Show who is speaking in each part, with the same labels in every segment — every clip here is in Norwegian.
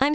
Speaker 1: I'm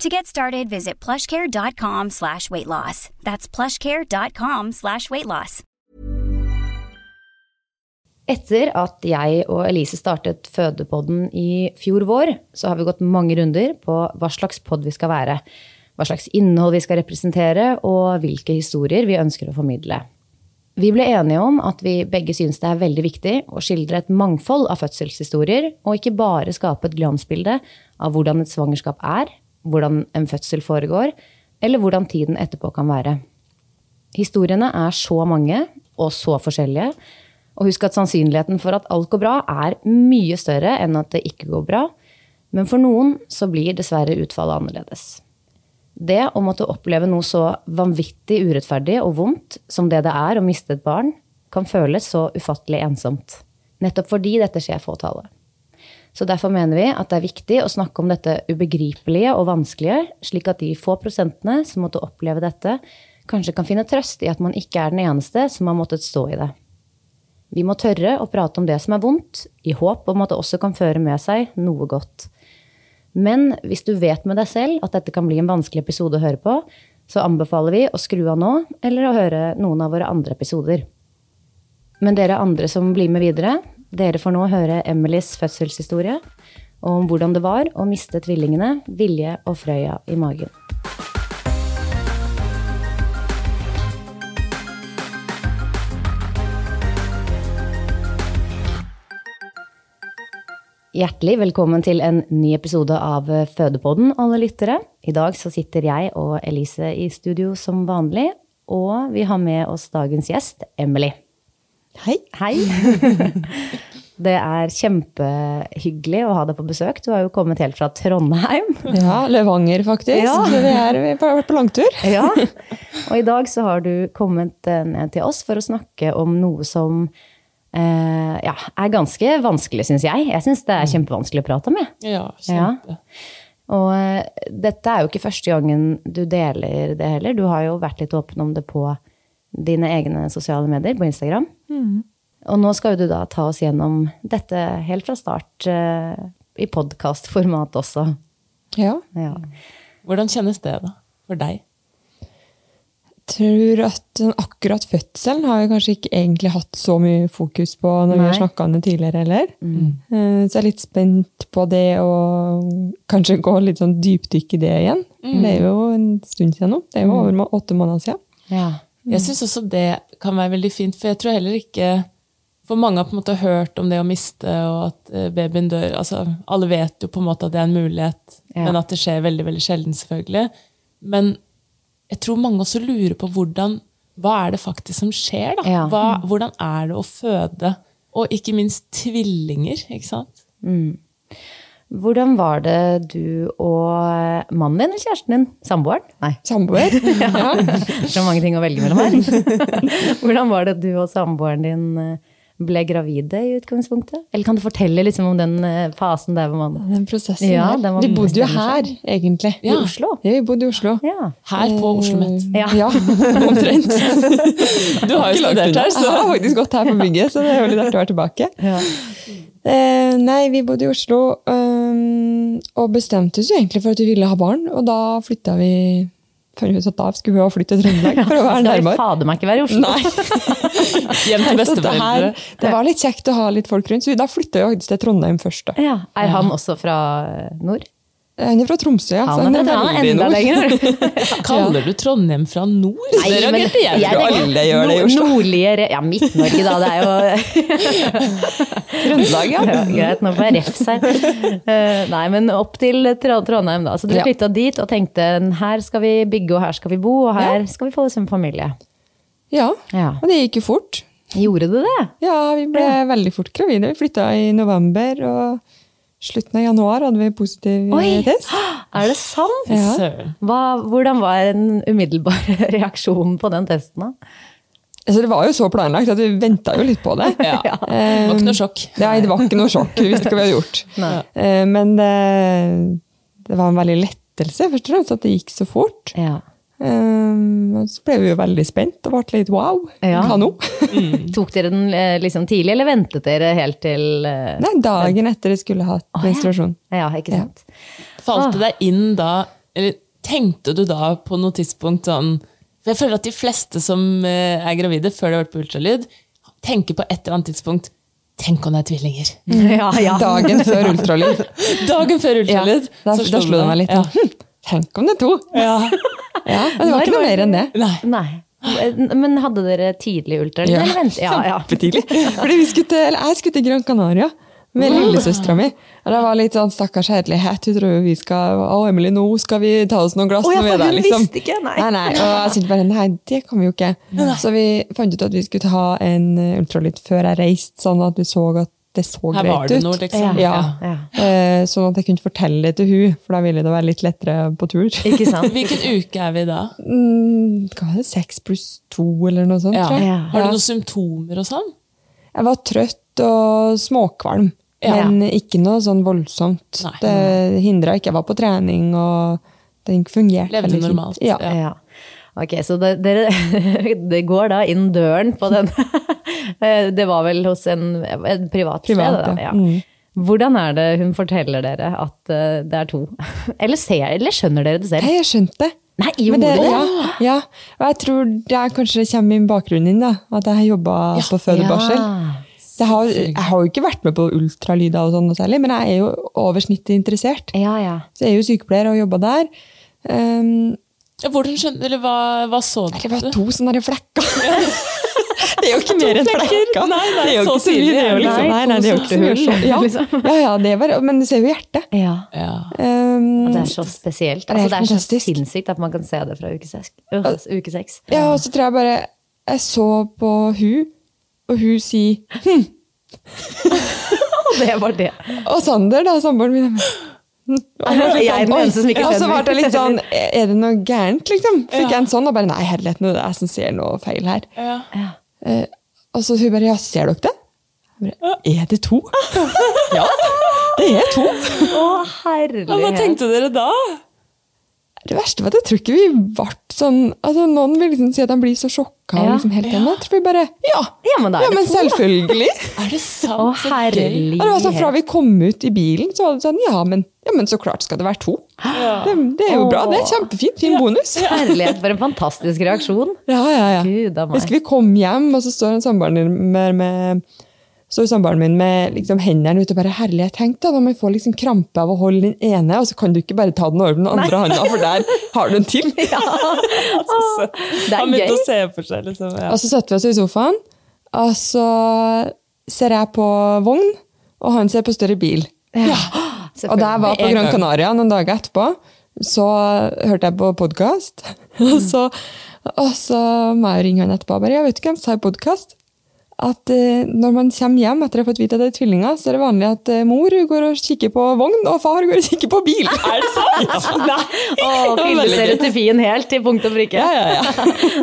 Speaker 2: To get started, visit plushcare.com slash weight loss. That's plushcare.com slash weight loss.
Speaker 3: Etter at jeg og Elise startet Fødepodden i fjor vår, så har vi gått mange runder på hva slags pod vi skal være, hva slags innhold vi skal representere, og hvilke historier vi ønsker å formidle. Vi ble enige om at vi begge syns det er veldig viktig å skildre et mangfold av fødselshistorier, og ikke bare skape et glansbilde av hvordan et svangerskap er, hvordan en fødsel foregår, eller hvordan tiden etterpå kan være. Historiene er så mange og så forskjellige, og husk at sannsynligheten for at alt går bra, er mye større enn at det ikke går bra, men for noen så blir dessverre utfallet annerledes. Det å måtte oppleve noe så vanvittig urettferdig og vondt som det det er å miste et barn, kan føles så ufattelig ensomt. Nettopp fordi dette skjer fåtallet. Så derfor mener vi at det er viktig å snakke om dette ubegripelige og vanskelige, slik at de få prosentene som måtte oppleve dette, kanskje kan finne trøst i at man ikke er den eneste som har måttet stå i det. Vi må tørre å prate om det som er vondt, i håp om at det også kan føre med seg noe godt. Men hvis du vet med deg selv at dette kan bli en vanskelig episode å høre på, så anbefaler vi å skru av nå, eller å høre noen av våre andre episoder. Men dere andre som blir med videre, dere får nå høre Emilys fødselshistorie om hvordan det var å miste tvillingene Vilje og Frøya i magen. Hjertelig velkommen til en ny episode av Fødepodden, alle lyttere. I dag så sitter jeg og Elise i studio som vanlig, og vi har med oss dagens gjest, Emily.
Speaker 4: Hei.
Speaker 3: Hei! Det er kjempehyggelig å ha deg på besøk. Du har jo kommet helt fra Trondheim.
Speaker 4: Ja, Levanger, faktisk.
Speaker 3: Ja.
Speaker 4: Så vi, er, vi har vært på langtur.
Speaker 3: Ja. Og i dag så har du kommet eh, ned til oss for å snakke om noe som eh, ja, er ganske vanskelig, syns jeg. Jeg syns det er kjempevanskelig å prate om, jeg.
Speaker 4: Ja,
Speaker 3: kjempe. Og eh, dette er jo ikke første gangen du deler det heller. Du har jo vært litt åpen om det på dine egne sosiale medier, på Instagram. Og nå skal jo du da ta oss gjennom dette helt fra start, eh, i podkastformat også.
Speaker 4: ja.
Speaker 3: Ja.
Speaker 5: Hvordan kjennes det da, for deg?
Speaker 4: tror at den akkurat fødselen har vi kanskje ikke egentlig hatt så mye fokus på når vi har
Speaker 3: Nei. Mm.
Speaker 4: snakka om det tidligere heller. Eh, Så jeg er litt spent på det og kanskje gå litt sånn dypdykk i det igjen. Det er jo en stund siden nå.
Speaker 3: Mm.
Speaker 4: Det er jo over må- åtte måneder siden.
Speaker 3: ja.
Speaker 5: Jeg syns også det kan være veldig fint, for jeg tror heller ikke For mange har på en måte hørt om det å miste og at eh, babyen dør. altså Alle vet jo på en måte at det er en mulighet,
Speaker 3: Ja.
Speaker 5: men at det skjer veldig veldig sjelden, selvfølgelig. Men jeg tror mange også lurer på hvordan hva er det faktisk som skjer. da?
Speaker 3: Ja.
Speaker 5: Hva, hvordan er det å føde? Og ikke minst tvillinger. ikke sant?
Speaker 3: Hvordan var det du og eh, mannen din, eller kjæresten din, samboeren? Nei,
Speaker 4: Samboer. ja.
Speaker 3: det er så mange ting å velge mellom her. Hvordan var det du og samboeren din eh, ble gravide i utgangspunktet? Eller kan du fortelle liksom om den eh, fasen der hvor man
Speaker 4: Den prosessen
Speaker 3: Ja,
Speaker 4: her.
Speaker 3: den var
Speaker 4: vi bodde jo
Speaker 3: bestemmer
Speaker 4: her, egentlig.
Speaker 3: I Oslo?
Speaker 4: Ja, vi bodde i Oslo.
Speaker 3: Ja.
Speaker 5: Her på Oslo Met.
Speaker 3: Ja.
Speaker 4: Ja, omtrent.
Speaker 3: Eh,
Speaker 5: Du har jo studert her,
Speaker 4: Jeg
Speaker 5: så
Speaker 4: har faktisk gått her på bygget, så det er veldig artig å være tilbake.
Speaker 3: Ja.
Speaker 4: Eh, nei, vi bodde i Oslo, øhm, og bestemte oss jo egentlig for at vi ville ha barn, og da flytta vi Før vi satt av, skulle vi ha flyttet til Trøndelag for å være
Speaker 3: Skal vi
Speaker 4: nærmere.
Speaker 3: fader meg ikke være i Oslo?
Speaker 4: Nei.
Speaker 5: hjem til
Speaker 4: Det,
Speaker 5: besteforeldre.
Speaker 4: her, det var litt kjekt å ha litt folk rundt, så vi- da flytta vi faktisk til Trondheim først. da.
Speaker 3: Ja. Er han også fra eh, nord?
Speaker 4: Eh, Han er fra Tromsø, ja. så
Speaker 3: Han er fra han er
Speaker 4: veldig
Speaker 3: enda
Speaker 4: nord.
Speaker 3: lenger nord.
Speaker 5: Kaller du Trondheim fra nord?
Speaker 3: Nei,
Speaker 5: Dere har
Speaker 3: men
Speaker 5: ikke det
Speaker 3: jeg
Speaker 5: jævlig.
Speaker 3: tenker
Speaker 4: alle gjør det i
Speaker 3: nord-
Speaker 4: Oslo.
Speaker 3: Nordlige re- Ja, Midt-Norge, da. Det er jo
Speaker 4: Trøndelag, ja.
Speaker 3: ja, greit, nå får jeg refs her. Eh, Nei, men opp til Tr- Trondheim, da. Så dere
Speaker 4: Ja.
Speaker 3: flytta dit og tenkte her skal vi bygge, og her skal vi bo, og her skal vi få oss en familie.
Speaker 4: ja.
Speaker 3: Ja.
Speaker 4: Og det gikk jo fort.
Speaker 3: Gjorde det det?
Speaker 4: Ja, vi ble veldig fort gravide. Vi flytta i november, og slutten av januar hadde vi positiv eh,
Speaker 3: Oi!
Speaker 4: test.
Speaker 3: Er det sant?
Speaker 5: Søren.
Speaker 3: Hva, hvordan var en umiddelbar reaksjon på den testen, da?
Speaker 4: Altså, det var jo så planlagt at vi venta jo litt på det.
Speaker 5: Ja. Det
Speaker 4: Eh,
Speaker 5: var ikke noe sjokk.
Speaker 4: Nei, det var ikke noe sjokk. Vi visste ikke hva vi hadde gjort. Eh, Men det, det var en veldig lettelse, først og fremst, at det gikk så fort.
Speaker 3: Ja.
Speaker 4: Eh, og så ble vi jo veldig spent og ble litt wow.
Speaker 3: Ja.
Speaker 4: Hva nå?
Speaker 3: Tok dere den eh, liksom tidlig, eller ventet dere helt til eh,
Speaker 4: Nei, dagen etter jeg skulle hatt menstruasjon.
Speaker 3: Ja, ikke sant?
Speaker 5: Falt
Speaker 4: Ah.
Speaker 5: det deg inn da, eller tenkte du da på noe tidspunkt sånn For jeg føler at de fleste som eh, er gravide før de har vært på ultralyd, tenker på et eller annet tidspunkt Tenk om det er tvillinger!
Speaker 4: Mm.
Speaker 3: Ja,
Speaker 5: Ah,
Speaker 3: ja.
Speaker 4: Dagen før ultralyd.
Speaker 5: Dagen før ultralyd.
Speaker 4: Da,
Speaker 5: så
Speaker 4: da slo det meg litt.
Speaker 5: Ja.
Speaker 4: Hm, Tenk om det er to!
Speaker 5: Ja.
Speaker 4: Ja, men det var ikke noe mer enn det.
Speaker 5: Nei.
Speaker 3: Nei. Eh, Men hadde dere tidlig ultralyd?
Speaker 4: Ja.
Speaker 3: Eller vent? Ja, ja.
Speaker 4: Kjempetidlig. Fordi vi skulle til, eller jeg skulle til Gran Canaria med lillesøstera mi. Og det var litt sånn stakkars herlighet. Hun tror jo vi skal Å, Emily, nå skal vi ta oss noen glass.
Speaker 3: Å, ja,
Speaker 4: når vi er
Speaker 3: for hun
Speaker 4: der, liksom.
Speaker 3: visste ikke, nei.
Speaker 4: nei, nei. Og jeg syntes bare nei, det kan vi jo ikke. Så vi fant ut at vi skulle ha en eh, ultralyd før jeg reiste, sånn at vi så at det så
Speaker 5: Her
Speaker 4: greit ut.
Speaker 5: var det noe, liksom.
Speaker 4: Ja.
Speaker 3: Ja.
Speaker 4: Eh, Sånn at jeg kunne fortelle det til hun, for da ville det være litt lettere på tur.
Speaker 3: Ikke sant?
Speaker 5: Hvilken uke er vi i da?
Speaker 4: Mm, Hva var det, seks pluss to, eller noe sånt,
Speaker 5: Ja.
Speaker 4: tror jeg.
Speaker 3: Ja.
Speaker 5: Har du noen symptomer og sånn?
Speaker 4: Jeg var trøtt og småkvalm, men ikke noe sånn voldsomt.
Speaker 5: Nei.
Speaker 4: Det hindra ikke. Jeg var på trening, og den fungerte.
Speaker 5: Levde
Speaker 4: veldig fint.
Speaker 5: normalt,
Speaker 4: Ja.
Speaker 5: ja.
Speaker 3: Ja. Ok, så det, dere det går da inn døren på den Eh, Det var vel hos en, en privat, sted,
Speaker 4: Privat,
Speaker 3: da?
Speaker 4: ja. Mm.
Speaker 3: Ja. Hvordan er det hun forteller dere at eh, det er to? Eller, ser, eller skjønner dere det selv?
Speaker 4: Nei, jeg skjønte det.
Speaker 3: Nei,
Speaker 4: Men
Speaker 3: gjorde
Speaker 4: det,
Speaker 3: dere
Speaker 4: ja,
Speaker 3: det?
Speaker 4: ja. Og jeg tror det er kanskje det kommer i bakgrunnen din, da. At jeg har jobba på fødebarsel.
Speaker 3: Ja.
Speaker 4: Jeg har, jeg har jo ikke vært med på ultralyder og sånn noe særlig, men jeg er jo over snittet interessert.
Speaker 3: Ja, ja.
Speaker 4: Så jeg er jo sykepleier og jobba der. Um,
Speaker 5: Ja, Hvordan skjønte, eller hva, hva så du?
Speaker 4: det var to sånne der flekker. Det er jo ikke mer enn flekker.
Speaker 5: Nei, nei,
Speaker 4: det er jo
Speaker 5: så
Speaker 4: ikke så mye,
Speaker 5: tidlig
Speaker 4: det er jo
Speaker 5: er det.
Speaker 4: liksom, nei, nei, det er jo ikke så mye.
Speaker 3: Sorte hull,
Speaker 4: Ja,
Speaker 3: liksom.
Speaker 4: ja, ja, det var, men du ser jo hjertet.
Speaker 3: ja.
Speaker 5: Ja.
Speaker 4: Um,
Speaker 3: Det er så spesielt.
Speaker 4: Det
Speaker 3: Altså, det er
Speaker 4: er helt
Speaker 3: så
Speaker 4: fantastisk.
Speaker 3: sinnssykt at man kan se det fra uke seks. Øh, Uke seks.
Speaker 4: ja, og så tror jeg bare, jeg så på hun, og hun sier, "Hm."
Speaker 3: Og det var det.
Speaker 4: og Sander da, samboeren min, jeg bare, hm. Og jeg var litt
Speaker 3: Jeg er den
Speaker 4: sånn, oi.
Speaker 3: eneste som ikke
Speaker 4: Ja, Og så
Speaker 3: skjønner.
Speaker 4: ble jeg litt sånn, er det noe gærent liksom? Fikk jeg en sånn, og bare, nei, herlighet, nå er det jeg som ser noe feil her.
Speaker 5: Ja.
Speaker 4: Eh, og så hun bare, ja, ser dere det? Jeg bare, er det to? ja, det er to.
Speaker 3: Å,
Speaker 5: Ja, Hva
Speaker 3: herlighet.
Speaker 5: tenkte dere da?
Speaker 4: Det verste var at jeg tror ikke vi ble sånn altså Noen vil liksom si at han blir så sjokka.
Speaker 3: Ja.
Speaker 4: Og liksom helt ennå. Jeg tror vi bare Ja!
Speaker 3: Ja, men da er det to, da.
Speaker 4: selvfølgelig!
Speaker 5: Er det sant?
Speaker 3: Å,
Speaker 5: Så gøy.
Speaker 3: herlighet.
Speaker 4: Og det var sånn Fra vi kom ut i bilen, så var det sånn Ja, men, ja, men så klart skal det være to. Det, det er jo bra. Det er kjempefint. Fin bonus. Ja,
Speaker 3: Herlighet, for en fantastisk reaksjon.
Speaker 4: ja, ja.
Speaker 3: Gud av meg.
Speaker 4: Husker vi kom hjem, og så står en samboeren min med, med står samboeren min med liksom hendene ute og bare Herlighet, tenk da, da må jeg få liksom krampe av å holde den ene, og så kan du ikke bare ta den over den andre hånda, for der har du en til.
Speaker 3: Det
Speaker 5: Han
Speaker 3: er
Speaker 5: begynte
Speaker 3: gøy.
Speaker 5: å se for seg, liksom. Ja.
Speaker 4: Og så setter vi oss i sofaen, og så ser jeg på vogn, og han ser på større bil. Og da jeg var på
Speaker 5: Med en
Speaker 4: Gran
Speaker 5: gang.
Speaker 4: Canaria noen dager etterpå, så hørte jeg på podkast. Og så, og så må jeg ringe han etterpå og bare 'Jeg vet ikke hvem som har podkast.' at eh, når man kommer hjem etter å ha fått vite at det er tvillinger, så er det vanlig at eh, mor går og kikker på vogn, og far går og kikker på bil. Er det sant? Nei.
Speaker 3: Å, fylle stereotypien helt til punkt og prikke.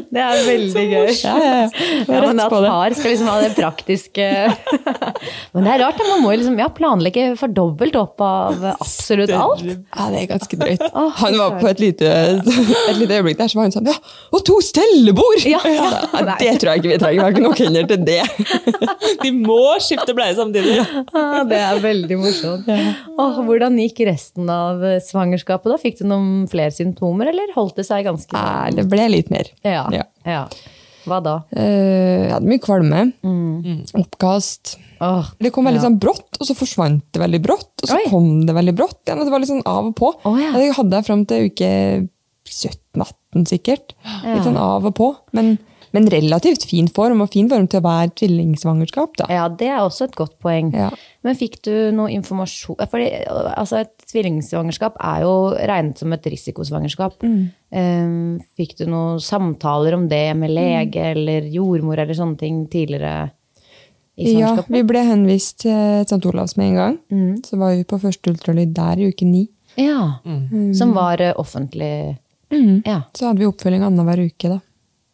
Speaker 3: Det er veldig gøy.
Speaker 4: Ja, ja, ja.
Speaker 3: Ja, men
Speaker 4: Rett
Speaker 3: at
Speaker 4: på det.
Speaker 3: far skal liksom ha det praktiske Men det er rart, da. man må jo liksom ja, planlegge for dobbelt opp av absolutt alt.
Speaker 4: Ja, det er ganske drøyt.
Speaker 3: Å,
Speaker 4: Han var på et lite, et lite øyeblikk der, så var han sånn Ja, og to stellebord!
Speaker 3: Ja.
Speaker 4: Ja, det tror jeg ikke vi trenger. Vi har ikke nok hender til det.
Speaker 5: De må skifte bleie samtidig.
Speaker 3: Ja, Ah, det er veldig morsomt. Åh, hvordan gikk resten av eh, svangerskapet da? Fikk du noen flere symptomer, eller holdt det seg ganske
Speaker 4: Nei, det ble litt mer.
Speaker 3: Ja.
Speaker 4: Ah, Ja.
Speaker 3: ja. Hva da?
Speaker 4: Eh, jeg hadde mye kvalme.
Speaker 3: Mm.
Speaker 5: Mm.
Speaker 4: Oppkast.
Speaker 3: Åh,
Speaker 4: Det kom veldig
Speaker 3: ja.
Speaker 4: sånn brått, og så forsvant det veldig brått. Og så
Speaker 3: Oi.
Speaker 4: kom det veldig brått igjen. og Det var litt sånn av og på.
Speaker 3: Å, ja.
Speaker 4: Det hadde jeg fram til uke 17-18, sikkert. Litt sånn av og på. Men, men relativt fin form, og fin form til å være tvillingsvangerskap. da.
Speaker 3: Ja, det er også et godt poeng.
Speaker 4: Ja.
Speaker 3: Men fikk du noe informasjon Fordi altså, et tvillingsvangerskap er jo regnet som et risikosvangerskap.
Speaker 4: Mm.
Speaker 3: Eh, Fikk du noen samtaler om det
Speaker 4: Mm.
Speaker 3: med lege eller jordmor eller sånne ting tidligere i
Speaker 4: Ja,
Speaker 3: svangerskapet? Mm.
Speaker 4: vi ble henvist til St. Olavs med en gang. Så var vi på første ultralyd der i uke ni.
Speaker 3: Ja.
Speaker 4: Mm.
Speaker 3: Som var eh, offentlig Ja,
Speaker 4: Så hadde vi oppfølging annenhver uke, da.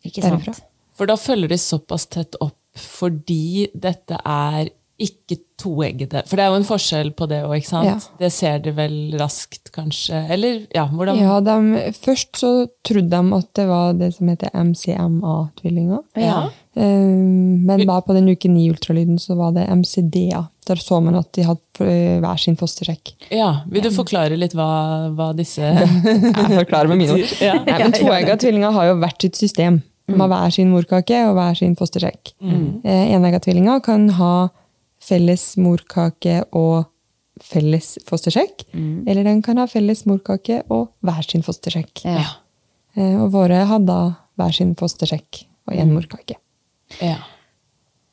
Speaker 3: ikke sant.
Speaker 4: Derifra.
Speaker 5: For da følger de såpass tett opp fordi dette er ikke toeggete. For det er jo en forskjell på det òg, ikke sant?
Speaker 4: Ja.
Speaker 5: Det ser de vel raskt, kanskje? Eller ja, hvordan
Speaker 4: Ja, de, først så trodde de at det var det som heter MCMA-tvillinger.
Speaker 5: Ja.
Speaker 4: Ehm, men bare på den uke 9-ultralyden så var det MCDA. Der så man at de hadde eh, hver sin fostersjekk.
Speaker 5: Ja, Vil du forklare litt hva, hva disse
Speaker 4: Jeg forklarer med mine ord.
Speaker 5: Ja. Mm.
Speaker 4: Nei, men Toegga tvillinger har jo hvert sitt system. De har hver sin morkake og hver sin fostersjekk. Mm. Enegga tvillinger kan ha felles morkake og felles fostersjekk.
Speaker 5: Mm.
Speaker 4: Eller den kan ha felles morkake og hver sin fostersjekk.
Speaker 3: Ja.
Speaker 4: Eh, Og våre hadde da hver sin fostersjekk og
Speaker 5: Mm.
Speaker 4: én morkake.
Speaker 5: ja.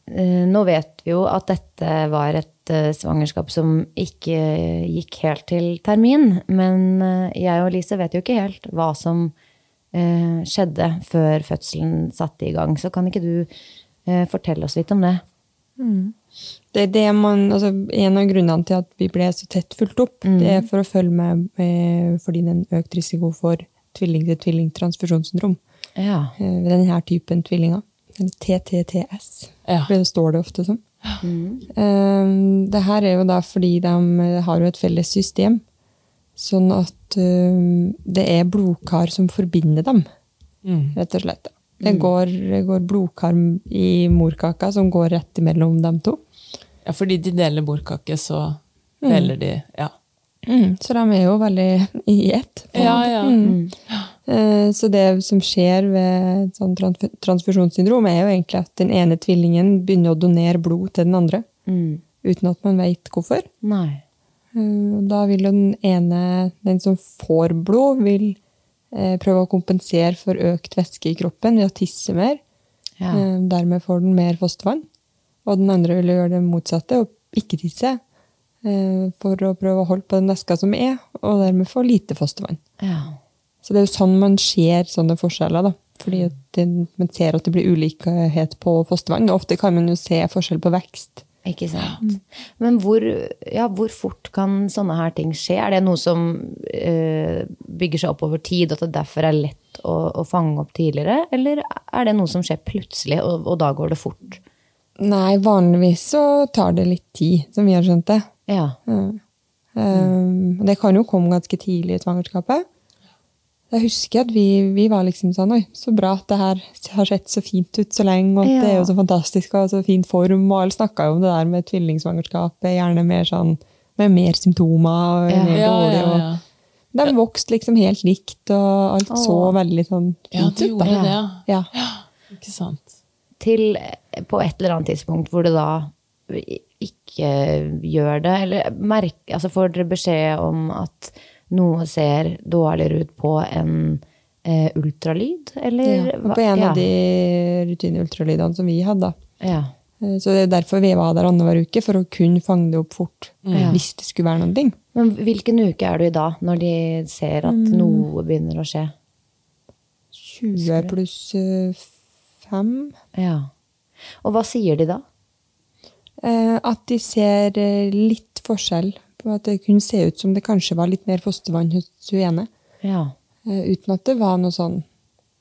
Speaker 3: Eh, Nå vet vi jo at dette var et eh, svangerskap som ikke eh, gikk helt til termin. Men eh, jeg og Lise vet jo ikke helt hva som eh, skjedde før fødselen satte i gang. Så kan ikke du eh, fortelle oss litt om det?
Speaker 4: Det er det man, altså En av grunnene til at vi ble så tett fulgt opp, det er for å følge med, med fordi det er en økt risiko for tvilling-til-tvilling-transfusjonssyndrom.
Speaker 3: Ja.
Speaker 4: eh, ved denne typen tvillinger. Eller TTTS,
Speaker 5: Ja.
Speaker 4: for det står det ofte som. Eh, det her er jo da fordi de eh, har jo et felles system, sånn at eh, det er blodkar som forbinder dem,
Speaker 5: Mm.
Speaker 4: rett og slett. Det går, det går blodkar i morkaka som går rett imellom dem to.
Speaker 5: ja, fordi de deler bordkake, så deler de Ja.
Speaker 4: Så de er jo veldig i ett. på en
Speaker 5: Mm. Ja,
Speaker 4: måte. Mm.
Speaker 5: ja.
Speaker 4: Eh, Så det som skjer ved et sånt transf- transfusjonssyndrom, er jo egentlig at den ene tvillingen begynner å donere blod til den andre,
Speaker 3: Mm.
Speaker 5: Mm.
Speaker 4: uten at man veit hvorfor.
Speaker 3: Nei.
Speaker 4: Eh, og Da vil jo den ene, den som får blod, vil eh, prøve å kompensere for økt væske i kroppen ved å tisse mer.
Speaker 3: Ja.
Speaker 4: Eh, Dermed får den mer fostervann. Og den andre vil gjøre det motsatte og ikke tisse. eh, For å prøve å holde på den væska som er, og dermed få lite fostervann.
Speaker 3: Ja.
Speaker 4: Så det er jo sånn man ser sånne forskjeller, da. Fordi at det, man ser at det blir ulikhet på fostervann. og Ofte kan man jo se forskjell på vekst.
Speaker 3: Ikke sant. Men hvor, ja, hvor fort kan sånne her ting skje? Er det noe som eh, bygger seg opp over tid, at det derfor er lett å, å fange opp tidligere? Eller er det noe som skjer plutselig, og, og da går det fort?
Speaker 4: Nei, vanligvis så tar det litt tid, som vi har skjønt det.
Speaker 3: Ja.
Speaker 4: Um, og det kan jo komme ganske tidlig i svangerskapet. Jeg husker at vi, vi var liksom sånn Oi, så bra at det her har sett så fint ut så lenge, og at det er jo så fantastisk og så fin form. Og alle snakka jo om det der med tvillingsvangerskapet, gjerne mer sånn med mer symptomer og mer
Speaker 5: Ja,
Speaker 4: dårlig.
Speaker 5: ja,
Speaker 4: og-
Speaker 5: ja.
Speaker 4: De vokste liksom helt likt, og alt så veldig sånn
Speaker 5: ja,
Speaker 4: fint
Speaker 5: de
Speaker 4: ut. da.
Speaker 5: gjorde det.
Speaker 4: Ja.
Speaker 5: Ikke sant.
Speaker 3: Til eh, på et eller annet tidspunkt hvor det da i- ikke gjør det, eller merk, altså får dere beskjed om at noe ser dårligere ut på en eh, ultralyd, eller?
Speaker 4: Ja. Og
Speaker 3: hva-
Speaker 4: på en
Speaker 3: ja.
Speaker 4: av de rutineultralydene som vi hadde. da.
Speaker 3: Ja.
Speaker 4: Eh, Så det er derfor vi var der annenhver uke, for å kunne fange det opp fort.
Speaker 5: Mm.
Speaker 4: Hvis det skulle være noen ting.
Speaker 3: Men hvilken uke er du i da, når de ser at noe begynner å skje?
Speaker 4: eh, 20 pluss 5.
Speaker 3: Ja. Og hva sier de da?
Speaker 4: Eh, at de ser eh, litt forskjell på at det kunne se ut som det kanskje var litt mer fostervann hos hun ene.
Speaker 3: Ja.
Speaker 4: Eh, uten at det var noe sånn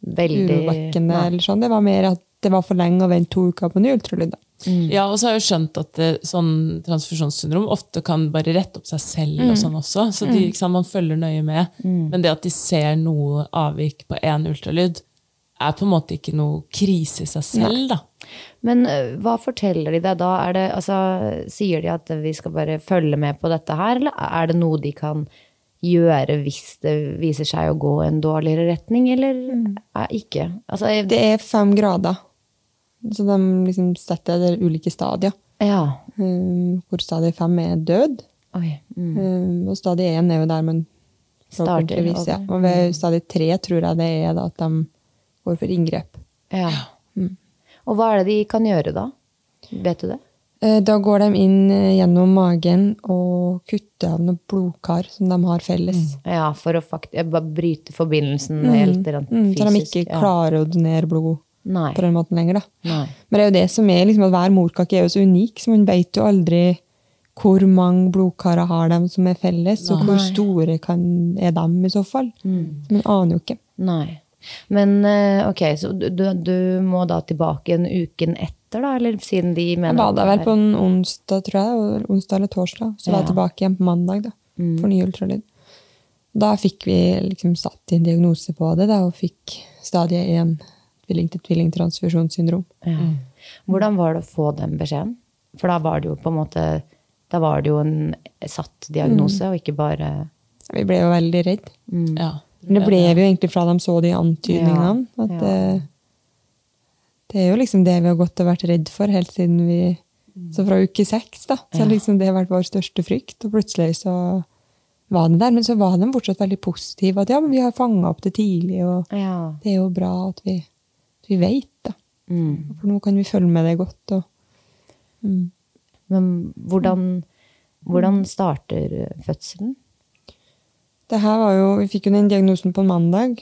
Speaker 3: Veldig
Speaker 4: urovekkende.
Speaker 3: Nei.
Speaker 4: eller sånn. Det var mer at det var for lenge å vente to uker på ny ultralyd. da.
Speaker 5: Ja, og så har jeg jo skjønt at eh, sånn transfusjonssyndrom ofte kan bare rette opp seg selv og sånn også. Så de, ikke sant, man følger nøye med. Men det at de ser noe avvik på én ultralyd, er på en måte ikke noe krise i seg selv, da.
Speaker 3: Men øh, hva forteller de deg da? Er det, altså, sier de at vi skal bare følge med på dette her, eller er det noe de kan gjøre hvis det viser seg å gå en dårligere retning, eller eh, ikke? Altså, jeg-
Speaker 4: Det er fem grader. Så de liksom setter det ulike stadier.
Speaker 3: ja.
Speaker 4: Eh, hvor stadie fem er død.
Speaker 3: Oi. Mm.
Speaker 4: Eh, og stadie én er jo der man
Speaker 3: Starter, Mm.
Speaker 4: forhåpentligvis, ja.
Speaker 3: ok.
Speaker 4: Og ved stadie tre tror jeg det er da at de går for inngrep.
Speaker 3: Ja. Mm. Og hva er det de kan gjøre da? Vet du det?
Speaker 4: Eh, Da går de inn eh, gjennom magen og kutter av noen blodkar som de har felles.
Speaker 3: Ja, for å fakt jeg bare bryte forbindelsen helt rent
Speaker 4: Mm,
Speaker 3: fysisk.
Speaker 4: så de ikke
Speaker 3: ja.
Speaker 4: klarer å donere blod
Speaker 3: Nei.
Speaker 4: på den måten lenger. Da.
Speaker 3: Nei.
Speaker 4: Men det er jo det som er liksom, at hver morkake er jo så unik, så man vet jo aldri hvor mange blodkarer har de som er felles, og hvor store kan, er de i så fall.
Speaker 3: Mm.
Speaker 4: Man aner jo ikke.
Speaker 3: Nei. Men eh, ok, så du, du, du må da tilbake en uken etter, da? Eller siden de
Speaker 4: Jeg
Speaker 3: mener at
Speaker 4: bada
Speaker 3: det
Speaker 4: vel
Speaker 3: er-
Speaker 4: på en onsdag, tror jeg. og- Onsdag eller torsdag. Så var jeg
Speaker 3: Ja.
Speaker 4: tilbake igjen på mandag da, for ny ultralyd. Da fikk vi liksom satt en diagnose på det, da, og fikk stadie 1 tvilling-til-tvilling-transfusjonssyndrom.
Speaker 3: ja. Hvordan var det å få den beskjeden? For da var det jo på en måte Da var det jo en satt diagnose,
Speaker 4: Mm.
Speaker 3: og ikke bare
Speaker 4: Vi ble jo veldig redd.
Speaker 5: Ja.
Speaker 4: Men det ble vi jo egentlig fra de så de antydningene.
Speaker 3: Ja,
Speaker 4: At
Speaker 3: ja.
Speaker 4: Det, det er jo liksom det vi har gått og vært redd for helt siden vi Så fra uke seks, da. Så
Speaker 3: Ja.
Speaker 4: liksom det har vært vår største frykt. Og plutselig så var den der. Men så var den fortsatt veldig positiv. At ja, men vi har fanga opp det tidlig. og
Speaker 3: Ja.
Speaker 4: det er jo bra at vi, at vi vet, da.
Speaker 3: Mm.
Speaker 4: For nå kan vi følge med det godt. Og,
Speaker 3: Men hvordan, hvordan starter fødselen?
Speaker 4: det her var jo, vi fikk jo den diagnosen på en mandag.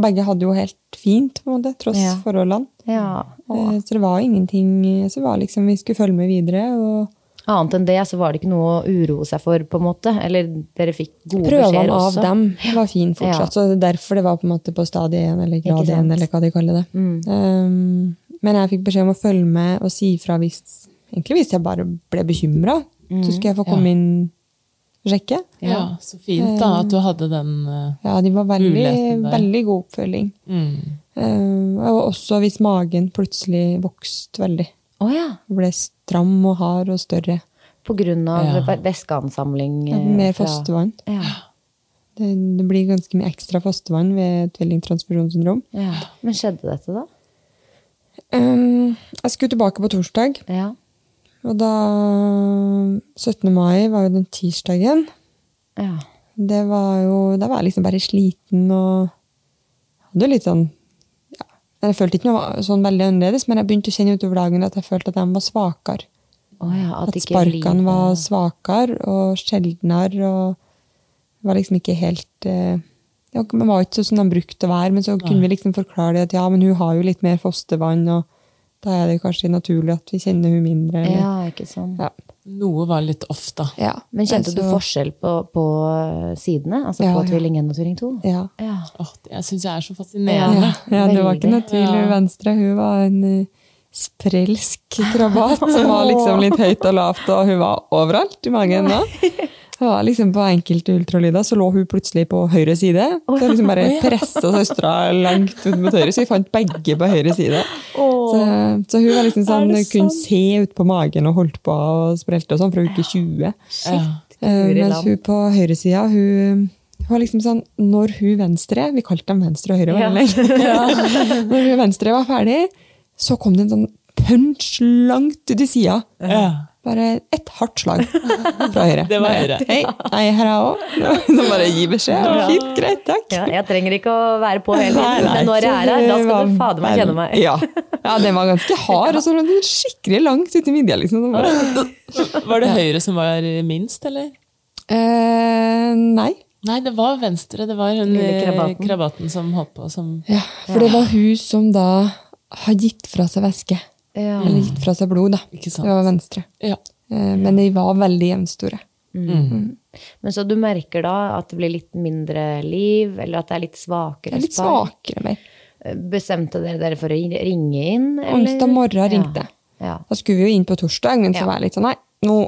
Speaker 4: Begge hadde jo helt fint, på en måte, tross
Speaker 3: Mm. Ja.
Speaker 4: forholdene.
Speaker 3: Ja.
Speaker 4: Eh, Så det var ingenting eh, Så det var liksom, vi skulle følge med videre. Og
Speaker 3: Annet enn det så var det ikke noe å uroe seg for, på en måte? Eller dere fikk gode beskjeder
Speaker 4: prøvene av
Speaker 3: også?
Speaker 4: dem var fine fortsatt.
Speaker 3: Ja.
Speaker 4: Så det er derfor det var på en måte på stadie 1, eller
Speaker 3: Ikke
Speaker 4: grad
Speaker 3: sant? Mm.
Speaker 4: 1, eller hva de kaller det. Um, men jeg fikk beskjed om å følge med og si ifra hvis Egentlig hvis jeg bare ble bekymra,
Speaker 3: Mm.
Speaker 4: så skulle jeg få komme inn og sjekke.
Speaker 5: ja, så fint da at du hadde den eh,
Speaker 4: Ja, de var veldig,
Speaker 5: Muligheten der.
Speaker 4: veldig god oppfølging.
Speaker 5: mm.
Speaker 4: Eh, og også hvis magen plutselig vokste veldig.
Speaker 3: Å ja.
Speaker 4: Ble stram og hard og større.
Speaker 3: På grunn av
Speaker 5: Ja.
Speaker 3: væskeansamling? eh,
Speaker 4: Mer
Speaker 3: fra-
Speaker 4: fostervann.
Speaker 3: Ja.
Speaker 4: Det, det blir ganske mye ekstra fostervann ved tvillingtransfusjonssyndrom.
Speaker 3: ja. Men skjedde dette, da?
Speaker 4: Eh, jeg skulle tilbake på torsdag,
Speaker 3: Ja.
Speaker 4: og da 17. mai var jo den tirsdagen.
Speaker 3: ja.
Speaker 4: Det var jo Da var jeg liksom bare sliten og hadde jo litt sånn ja, Jeg følte ikke noe sånn veldig annerledes, men jeg begynte å kjenne utover dagen at jeg følte at de var svakere.
Speaker 3: Å ja at
Speaker 4: At
Speaker 3: ikke
Speaker 4: sparkene
Speaker 3: livet-
Speaker 4: var svakere og sjeldnere. og det var liksom ikke helt eh, ja, Man var ikke sånn som de brukte å være, men så kunne vi liksom forklare det at ja, men hun har jo litt mer fostervann, og da er det jo kanskje naturlig at vi kjenner hun mindre. Eller,
Speaker 3: Ja, ikke sant.
Speaker 4: ja.
Speaker 5: Noe var litt off, da.
Speaker 4: Ja.
Speaker 3: Men kjente du
Speaker 4: Så-
Speaker 3: forskjell på, på sidene? Altså
Speaker 4: Ja,
Speaker 3: på
Speaker 4: ja.
Speaker 3: tvilling 1 og tvilling 2?
Speaker 4: Ja.
Speaker 3: Ja.
Speaker 5: Åh, det- jeg syns jeg er så fascinerende.
Speaker 4: ja, det var
Speaker 3: veldig.
Speaker 4: ikke noe tvil. Hun Venstre hun var en eh, sprelsk krabat som var liksom litt høyt og lavt, og hun var overalt i magen. da. Hun var liksom På enkelte ultralyder så lå hun plutselig på høyre side. Så jeg liksom bare pressa søstera langt ut mot høyre, så vi fant begge på høyre side. Så, så hun var liksom sånn, kunne se ut på magen og holdt på og sprelte og sånn fra uke 20. Eh,
Speaker 3: Guri
Speaker 4: mens
Speaker 3: land.
Speaker 4: hun på høyresida, hun, hun var liksom sånn Når hun venstre Vi kalte dem venstre og høyre. var det lenge. når hun venstre var ferdig, så kom det en sånn punch langt ut i sida.
Speaker 5: Ja.
Speaker 4: Bare et hardt slag fra høyre.
Speaker 5: Det var høyre.
Speaker 4: Bare, Hei, hei, her er jeg òg. Så bare gi beskjed. Fint, greit, takk.
Speaker 3: Ja, jeg trenger ikke å være på hele
Speaker 4: Nei,
Speaker 3: tiden,
Speaker 4: nei,
Speaker 3: men når jeg
Speaker 4: så
Speaker 3: er her, da
Speaker 4: det
Speaker 3: skal du
Speaker 4: var
Speaker 3: fader meg
Speaker 4: vel-
Speaker 3: kjenne meg.
Speaker 4: Ja. ja, den var ganske hard, og så var den skikkelig langt ut i midja. Liksom. Så Bare,
Speaker 5: Var det høyre som var minst, eller?
Speaker 4: eh, nei.
Speaker 5: Nei, det var venstre. Det var hun
Speaker 3: Lille
Speaker 5: eh,
Speaker 3: krabaten.
Speaker 5: krabaten som holdt på som
Speaker 4: Ja, for det var hun som da har gitt fra seg væske.
Speaker 3: Ja.
Speaker 4: Eller gitt fra seg blod, da.
Speaker 5: Ikke sant.
Speaker 4: Det var venstre.
Speaker 5: Ja.
Speaker 4: Eh, Men de var veldig jevnstore.
Speaker 3: Men så du merker da at det blir litt mindre liv, eller at det er litt
Speaker 4: Det
Speaker 3: svakere
Speaker 4: er litt
Speaker 3: spark? Eh,
Speaker 4: svakere mer.
Speaker 3: Bestemte dere dere for å ringe inn? eller?
Speaker 4: Onsdag morgen ringte jeg.
Speaker 3: Ja.
Speaker 4: Da skulle vi jo inn på torsdag, men så
Speaker 3: Ja.
Speaker 4: var jeg litt sånn Nei, nå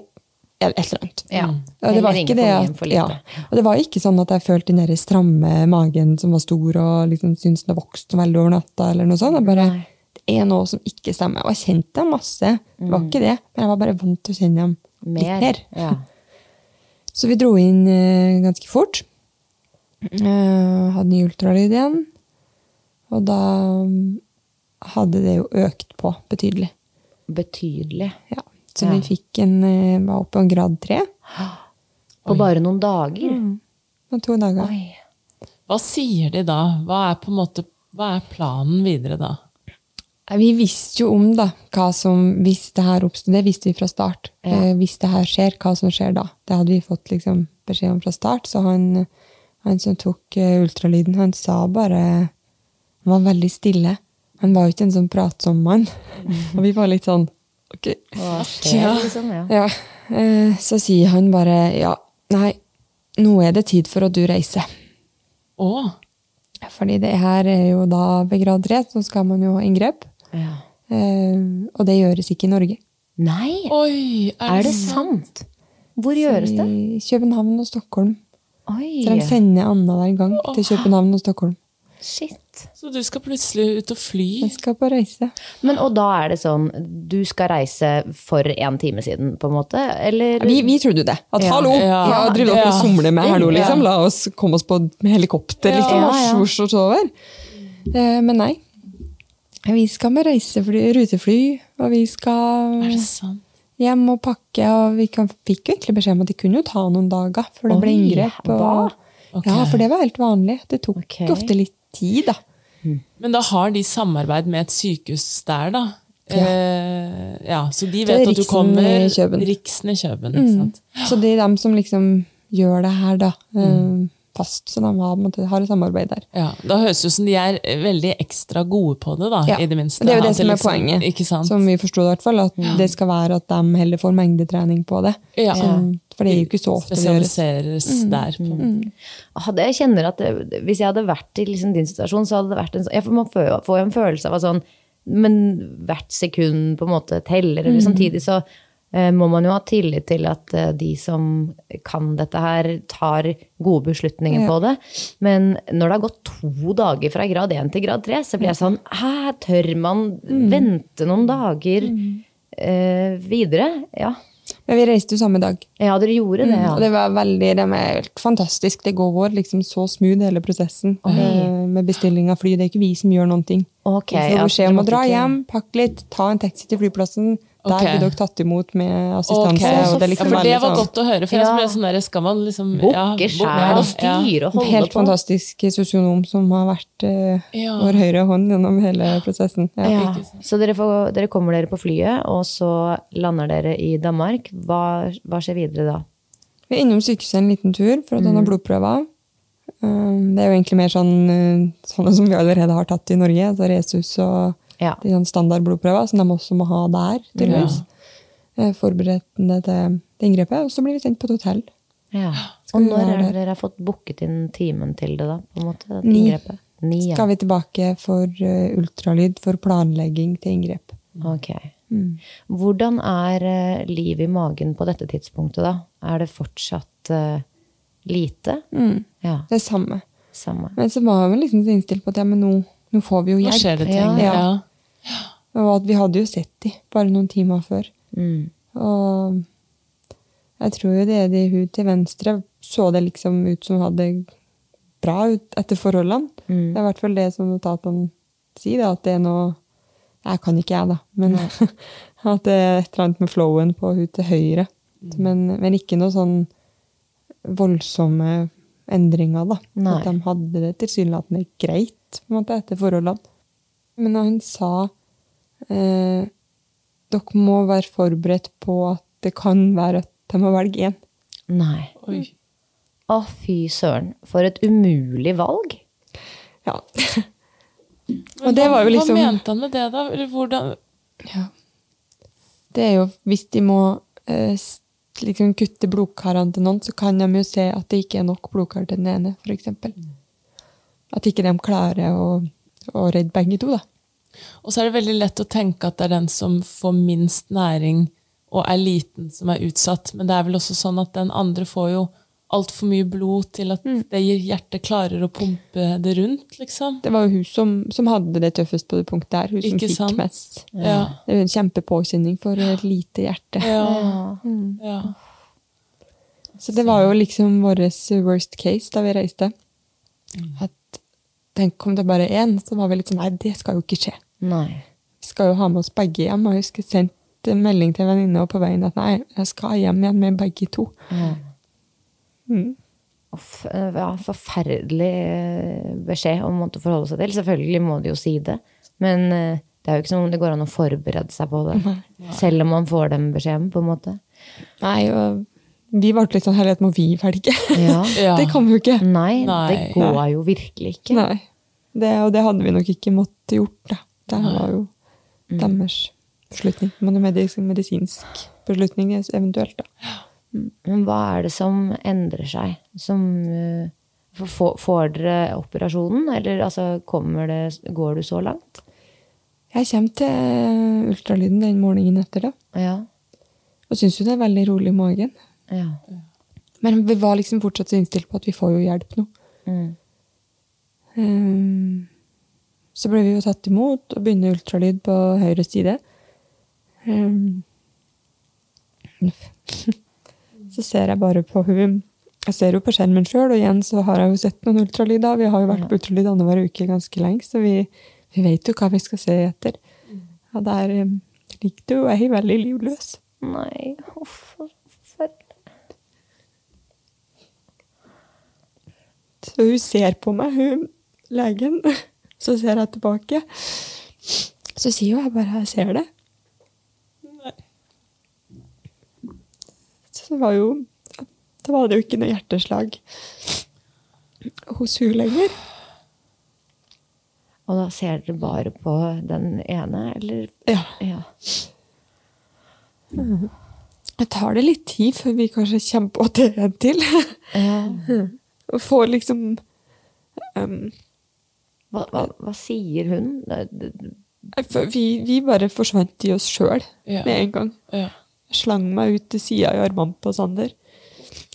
Speaker 4: er det et eller annet.
Speaker 3: Ja.
Speaker 4: Og det,
Speaker 3: Heller
Speaker 4: var
Speaker 3: ringe
Speaker 4: ikke
Speaker 3: for
Speaker 4: det,
Speaker 3: mye enn
Speaker 4: at,
Speaker 3: for
Speaker 4: ja.
Speaker 3: lite.
Speaker 4: og det var ikke sånn at jeg følte den der stramme magen som var stor, og liksom syntes den hadde vokst veldig over natta. eller noe sånt. Jeg bare,
Speaker 3: Nei.
Speaker 4: det er noe som ikke stemmer. Og jeg kjente dem masse. Det var ikke det, men jeg var bare vant til å kjenne dem
Speaker 3: Mm. Mer.
Speaker 4: litt mer.
Speaker 3: Ja.
Speaker 4: Så vi dro inn eh, ganske fort.
Speaker 3: Mm.
Speaker 4: Eh, hadde ny ultralyd igjen. Og da mm, hadde det jo økt på betydelig.
Speaker 3: Betydelig.
Speaker 4: Ja. Så
Speaker 3: Ja.
Speaker 4: vi fikk en, eh, var oppe på en grad tre
Speaker 3: På bare noen dager.
Speaker 4: Mm. om to dager.
Speaker 3: Oi.
Speaker 5: Hva sier de da? Hva er, på en måte, hva er planen videre da?
Speaker 4: Nei, Vi visste jo om da, hva som, hvis det her oppstod, det visste vi fra start. Eh, hvis det her skjer, hva som skjer da. Det hadde vi fått liksom, beskjed om fra start. Så han, han som tok eh, ultralyden, han sa bare, han var veldig stille. Han var jo ikke en sånn pratsom mann. Og vi var litt sånn, ok.
Speaker 3: Mhm. Hva skjer, liksom? Ja.
Speaker 4: Ja, eh, så sier han bare, ja, nei, nå er det tid for at du reiser.
Speaker 5: Å,
Speaker 4: Fordi det her er jo da ved grad 3, så skal man jo ha inngrep.
Speaker 3: Ja.
Speaker 4: Eh, og det gjøres ikke i Norge.
Speaker 3: Nei!
Speaker 5: oi, er
Speaker 3: Er
Speaker 5: det
Speaker 3: det sant? Hvor gjøres det?
Speaker 4: I København og Stockholm. Så de
Speaker 3: Oi!
Speaker 4: sender Anna hver gang til København og Stockholm.
Speaker 3: Shit.
Speaker 5: Så du skal plutselig ut og fly?
Speaker 4: Jeg skal på reise.
Speaker 3: Men og da er det sånn, du skal reise for en time siden, på en måte? Eller
Speaker 4: Vi, vi trodde jo det. At
Speaker 3: Ja.
Speaker 4: hallo,
Speaker 5: Ja.
Speaker 4: hva driver dere og
Speaker 5: Ja.
Speaker 4: somler med her nå, liksom? La oss komme oss på med helikopter, liksom.
Speaker 3: Ja,
Speaker 4: og
Speaker 3: ja.
Speaker 4: svosj og sover. Eh, Men nei. Vi skal med reisefly, rutefly, og vi
Speaker 5: Er
Speaker 4: skal
Speaker 5: det sant?
Speaker 4: hjem og pakke. Og vi kan, fikk jo egentlig beskjed om at det kunne jo ta noen dager før det ble
Speaker 3: Oi,
Speaker 4: inngrep.
Speaker 3: hva?
Speaker 4: Og, Ja, for det var helt vanlig. Det tok
Speaker 3: Ok.
Speaker 4: ofte litt tid, da.
Speaker 5: Men da har de samarbeid med et sykehus der, da? Ja, eh, ja så de
Speaker 4: Det er
Speaker 5: vet at du
Speaker 4: Riksen
Speaker 5: kommer
Speaker 4: i Kjøben. Mm.
Speaker 5: Riksen i Kjøben. Ikke sant?
Speaker 4: Så det er dem som liksom gjør det her, da. eh, Fast. Så de har, på en måte, har et samarbeid der.
Speaker 5: Ja, da høres det ut som de er veldig ekstra gode på det, da.
Speaker 4: Ja,
Speaker 5: i det minste.
Speaker 4: Det er jo
Speaker 5: At
Speaker 4: det som er
Speaker 5: liksom-
Speaker 4: poenget.
Speaker 5: Ikke sant?
Speaker 4: Som vi forsto det, i hvert fall. At det skal være at de heller får mengdetrening på det.
Speaker 5: Ja.
Speaker 4: Som- for det er jo ikke så ofte det gjøres. Mm.
Speaker 5: Spesialiseres der. På.
Speaker 3: hadde, jeg kjenner at det, Hvis jeg hadde vært i liksom din situasjon, så hadde det vært en sånn ja, for Man får jo får jo en følelse av at sånn Men hvert sekund på en måte teller.
Speaker 4: Mm.
Speaker 3: Eller samtidig så eh, må man jo ha tillit til at eh, de som kan dette her, tar gode beslutninger på det. Men når det har gått to dager fra grad én til grad tre, så blir jeg sånn Hæ, tør man
Speaker 4: Mm.
Speaker 3: vente noen dager eh, videre? Ja.
Speaker 4: Men vi reiste jo samme dag.
Speaker 3: ja, dere gjorde det, ja.
Speaker 4: Mm. Og det var veldig, de er helt fantastisk. Det går liksom så smooth, hele prosessen. eh, Med bestilling av fly. Det er ikke vi som gjør noen ting.
Speaker 3: Ok,
Speaker 4: vi
Speaker 3: ja,
Speaker 4: får
Speaker 3: så
Speaker 4: beskjed
Speaker 3: dere
Speaker 4: om å
Speaker 3: måtte
Speaker 4: dra
Speaker 3: ikke-
Speaker 4: hjem, pakke litt, ta en taxi til flyplassen. Der
Speaker 5: Ok.
Speaker 4: blir dere tatt imot med
Speaker 5: Ok.
Speaker 4: assistanse. Og det er liksom
Speaker 5: ja, for det
Speaker 4: veldig
Speaker 5: var
Speaker 4: sånn-
Speaker 5: godt å høre. For jeg
Speaker 3: Ja.
Speaker 5: ble sånn der, skal man liksom ja,
Speaker 3: Bukke,
Speaker 5: bo-
Speaker 3: skjære og
Speaker 5: ja, ja.
Speaker 3: styre og
Speaker 4: En
Speaker 3: holde
Speaker 4: helt
Speaker 3: på.
Speaker 4: fantastisk sosionom som har vært eh,
Speaker 5: Ja.
Speaker 4: vår høyre hånd gjennom hele prosessen. Ja.
Speaker 3: Ja. Så dere, får, dere kommer dere på flyet, og så lander dere i Danmark. Hva, hva skjer videre da?
Speaker 4: Vi er innom sykehuset en liten tur for å ta
Speaker 3: Mm.
Speaker 4: noen blodprøver. Um, det er jo egentlig mer sånn, eh, sånne som vi allerede har tatt i Norge. Altså Resus og
Speaker 3: Ja.
Speaker 4: de sånne standardblodprøver som de også må ha der, tydeligvis. Eh, Forberedende til det inngrepet. Og så blir vi sendt på et hotell.
Speaker 3: Ja.
Speaker 4: Skal
Speaker 3: Og
Speaker 4: vi
Speaker 3: når
Speaker 4: være
Speaker 3: er det
Speaker 4: der?
Speaker 3: dere har fått booket inn timen til det, da? på en måte? dette
Speaker 4: Ni.
Speaker 3: Inngrepet? Ni, ja.
Speaker 4: Skal vi tilbake for eh, ultralyd for planlegging til inngrep.
Speaker 3: Ok. Mm. Hvordan er eh, livet i magen på dette tidspunktet, da? Er det fortsatt eh, lite? Ja,
Speaker 4: Det er samme.
Speaker 3: samme.
Speaker 4: Men så var vi liksom så innstilt på at ja, men nå, nå får vi jo
Speaker 5: Nå
Speaker 4: hjelp.
Speaker 5: skjer det ting.
Speaker 3: Ja.
Speaker 5: Ja.
Speaker 4: Og at vi hadde jo sett de bare noen timer før.
Speaker 3: Mm.
Speaker 4: Og jeg tror jo det er de hun til venstre så det liksom ut som hun hadde bra ut etter forholdene. Det er i hvert fall det som notatene sier, da, at det er noe Jeg kan ikke jeg, da, men at det er et eller annet med flowen på hun til høyre. Men, men ikke noe sånn voldsomme endringer, da.
Speaker 3: Nei.
Speaker 4: At de hadde det tilsynelatende greit på en måte, etter forholdene. Men han sa eh, dere må være forberedt på at det kan være at de må velge én.
Speaker 3: Nei.
Speaker 5: Oi.
Speaker 3: Å, fy søren. For et umulig valg.
Speaker 4: Ja. Og det var jo
Speaker 5: Hva
Speaker 4: liksom
Speaker 5: mente han med det, da? Eller hvordan
Speaker 4: Ja. Det er jo, hvis de må eh, s- liksom kutte blodkarene til noen, så kan de jo se at det ikke er nok blodkar til den ene, for eksempel. At ikke de klarer å, å redde begge to, da.
Speaker 5: Og så er det veldig lett å tenke at det er den som får minst næring og er liten, som er utsatt. Men det er vel også sånn at den andre får jo altfor mye blod til at det gir- hjertet klarer å pumpe det rundt, liksom.
Speaker 4: Det var jo hun som, som hadde det tøffest på det punktet der. Hun som
Speaker 5: Ikke
Speaker 4: fikk
Speaker 5: sant?
Speaker 4: mest.
Speaker 5: Ja.
Speaker 4: Det er jo en kjempepåkjenning for et lite hjerte.
Speaker 5: Ja. ja.
Speaker 4: Så det var jo liksom vår worst case da vi reiste.
Speaker 5: Mm.
Speaker 4: At tenk om det bare er én, så var vi litt sånn Nei, det skal jo ikke skje.
Speaker 3: Nei.
Speaker 4: Vi skal jo ha med oss begge hjem. Og jeg husker sendt en melding til en venninne og på veien at nei, jeg skal hjem igjen med begge to.
Speaker 3: Uff, eh, ja, forferdelig eh, beskjed om å måtte forholde seg til. Selvfølgelig må de jo si det. Men eh, det er jo ikke som om det går an å forberede seg på det. Selv om man får den beskjeden, på en måte.
Speaker 4: Nei, og vi ble litt sånn herlighet, må vi velge?
Speaker 3: Ja. Mm.
Speaker 5: Ja.
Speaker 4: det kan vi jo ikke.
Speaker 3: Nei, det
Speaker 5: Nei.
Speaker 3: går jo virkelig ikke.
Speaker 4: Nei. Det, og det hadde vi nok ikke måttet gjort, da. Det her var jo deres beslutning. Men en medis- medisinsk beslutning eventuelt, da.
Speaker 3: Men hva er det som endrer seg? Som eh, får- får- Får dere operasjonen, eller altså, kommer det, går du så langt?
Speaker 4: Jeg kommer til ultralyden den morgenen etter, da.
Speaker 3: Ja.
Speaker 4: Og syns jo det er veldig rolig i magen.
Speaker 3: ja.
Speaker 4: Men vi var liksom fortsatt så innstilt på at vi får jo hjelp nå.
Speaker 3: Mm.
Speaker 4: Ehm, så ble vi jo tatt imot og begynner ultralyd på høyre side. Ehm, så ser jeg bare på hun Jeg ser jo på skjermen sjøl, og igjen så har jeg jo sett noen ultralyder. Vi har jo vært på ultralyd annenhver uke ganske lenge, så vi, vi vet jo hva vi skal se etter. Og der ehm, ligger det jo ei veldig livløs.
Speaker 3: Nei, uff, forferdelig.
Speaker 4: Så hun ser på meg, hun legen. Så ser jeg tilbake. Så sier jo jeg bare 'jeg ser det'. Så det var jo Da var det jo ikke noe hjerteslag hos hun lenger.
Speaker 3: Og da ser dere bare på den ene, eller?
Speaker 4: Ja.
Speaker 3: Ja.
Speaker 4: Det tar det litt tid før vi kanskje kommer på at det er en til.
Speaker 3: ja.
Speaker 4: Og får liksom ehm,
Speaker 3: Hva, hva, hva sier hun? Det- det-
Speaker 4: for vi, vi bare forsvant i oss sjøl
Speaker 5: Ja.
Speaker 4: med en gang.
Speaker 5: ja.
Speaker 4: Jeg slang meg ut til sida i armene på Sander.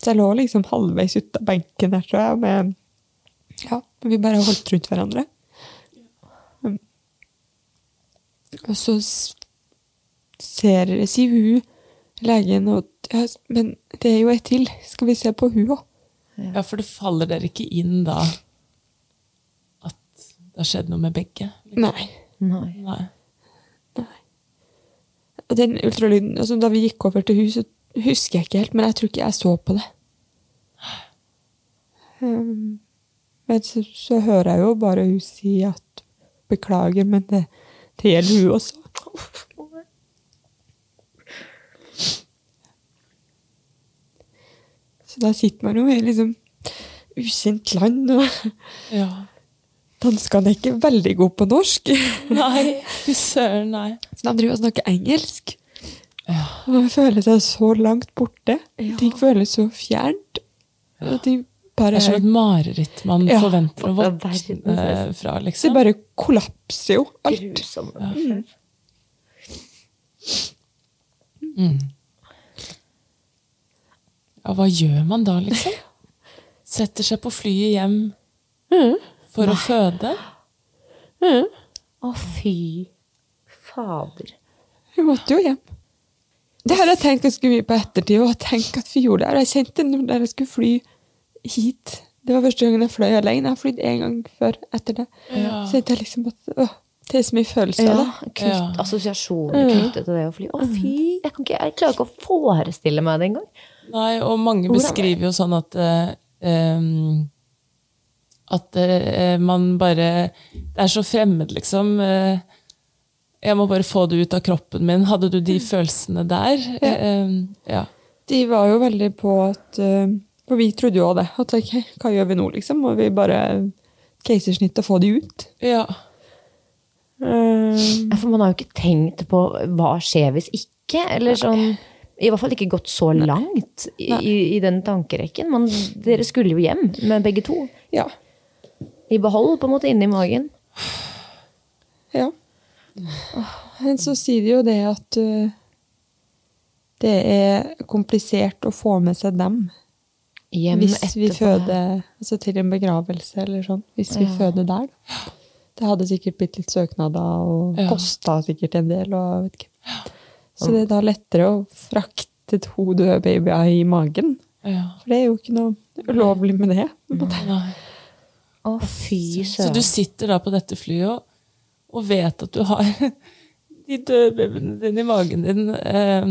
Speaker 4: Så jeg lå liksom halvveis ut av benken der, tror jeg, med Ja, vi bare holdt rundt hverandre. Mm. Og så s- ser sier hun legen og ja, Men det er jo ei til. Skal vi se på hun òg?
Speaker 5: Ja, for det faller dere ikke inn da at det har skjedd noe med begge?
Speaker 4: Nei.
Speaker 3: Nei.
Speaker 5: Nei.
Speaker 4: Og den ultralyden altså, Da vi gikk over til hun, så husker jeg ikke helt, men jeg tror ikke jeg så på det. Um, men så, så hører jeg jo bare hun si at Beklager, men det, det gjelder hun også. Så da sitter man jo i liksom ukjent land, og
Speaker 5: Ja.
Speaker 4: danskene er ikke veldig gode på norsk.
Speaker 5: Nei, fy søren, nei.
Speaker 4: Så de driver og snakker engelsk. Og man føler seg så langt borte. Ting føles så fjernt. Og de
Speaker 5: Det
Speaker 4: bare,
Speaker 5: er som et mareritt man
Speaker 4: Ja.
Speaker 5: forventer å
Speaker 3: Hva i verden,
Speaker 5: våkne fra,
Speaker 4: det
Speaker 5: liksom.
Speaker 4: bare kollapser jo alt.
Speaker 3: Grusomme.
Speaker 5: Ja, hva gjør man da, liksom? Setter seg på flyet hjem Mm. for å føde?
Speaker 3: Å, fy fader.
Speaker 4: Vi måtte jo hjem. Det har jeg tenkt ganske mye på ettertid. Og tenk at vi gjorde det. her. Jeg kjente det da jeg skulle fly hit. Det var første gangen jeg fløy alene. Jeg har flydd én gang før etter det.
Speaker 5: Ja.
Speaker 4: Så tenkte jeg liksom at åh, det er så mye følelser av det.
Speaker 3: knytt,
Speaker 5: Ja.
Speaker 3: Assosiasjoner knyttet til det å fly. Å, fy! Jeg, kan ikke, jeg klarer ikke å forestille meg det engang.
Speaker 5: Nei, og mange beskriver jo sånn at eh, em, At eh, man bare Det er så fremmed, liksom. eh, jeg må bare få det ut av kroppen min. Hadde du de følelsene der? Mm. Ja. ja.
Speaker 4: De var jo veldig på at eh, For vi trodde jo også det. At ok, hva gjør vi nå, liksom? Må vi bare keisersnitt og få de ut?
Speaker 5: ja.
Speaker 4: Eh,
Speaker 3: Ja, For man har jo ikke tenkt på hva skjer hvis ikke, eller sånn I hvert fall ikke gått så langt i, i, i den tankerekken. Man, dere skulle jo hjem med begge to.
Speaker 4: ja.
Speaker 3: I behold, på en måte, inni magen.
Speaker 4: Ja. Men så sier de jo det at eh, det er komplisert å få med seg dem
Speaker 3: Hjem
Speaker 4: hvis vi
Speaker 3: etterpå.
Speaker 4: føder altså til en begravelse eller sånn. Hvis vi føder der, da. Det hadde sikkert blitt litt søknader og
Speaker 5: Ja.
Speaker 4: kosta sikkert en del. Og jeg vet ikke. Så det er da lettere å frakte to døde babyer i magen.
Speaker 5: Ja.
Speaker 4: For det er jo ikke noe ulovlig med det. på en måte.
Speaker 5: Nei.
Speaker 3: Å, fy
Speaker 5: Så du
Speaker 3: søren.
Speaker 5: sitter da på dette flyet og, og vet at du har de døde babyene dine i magen din, eh,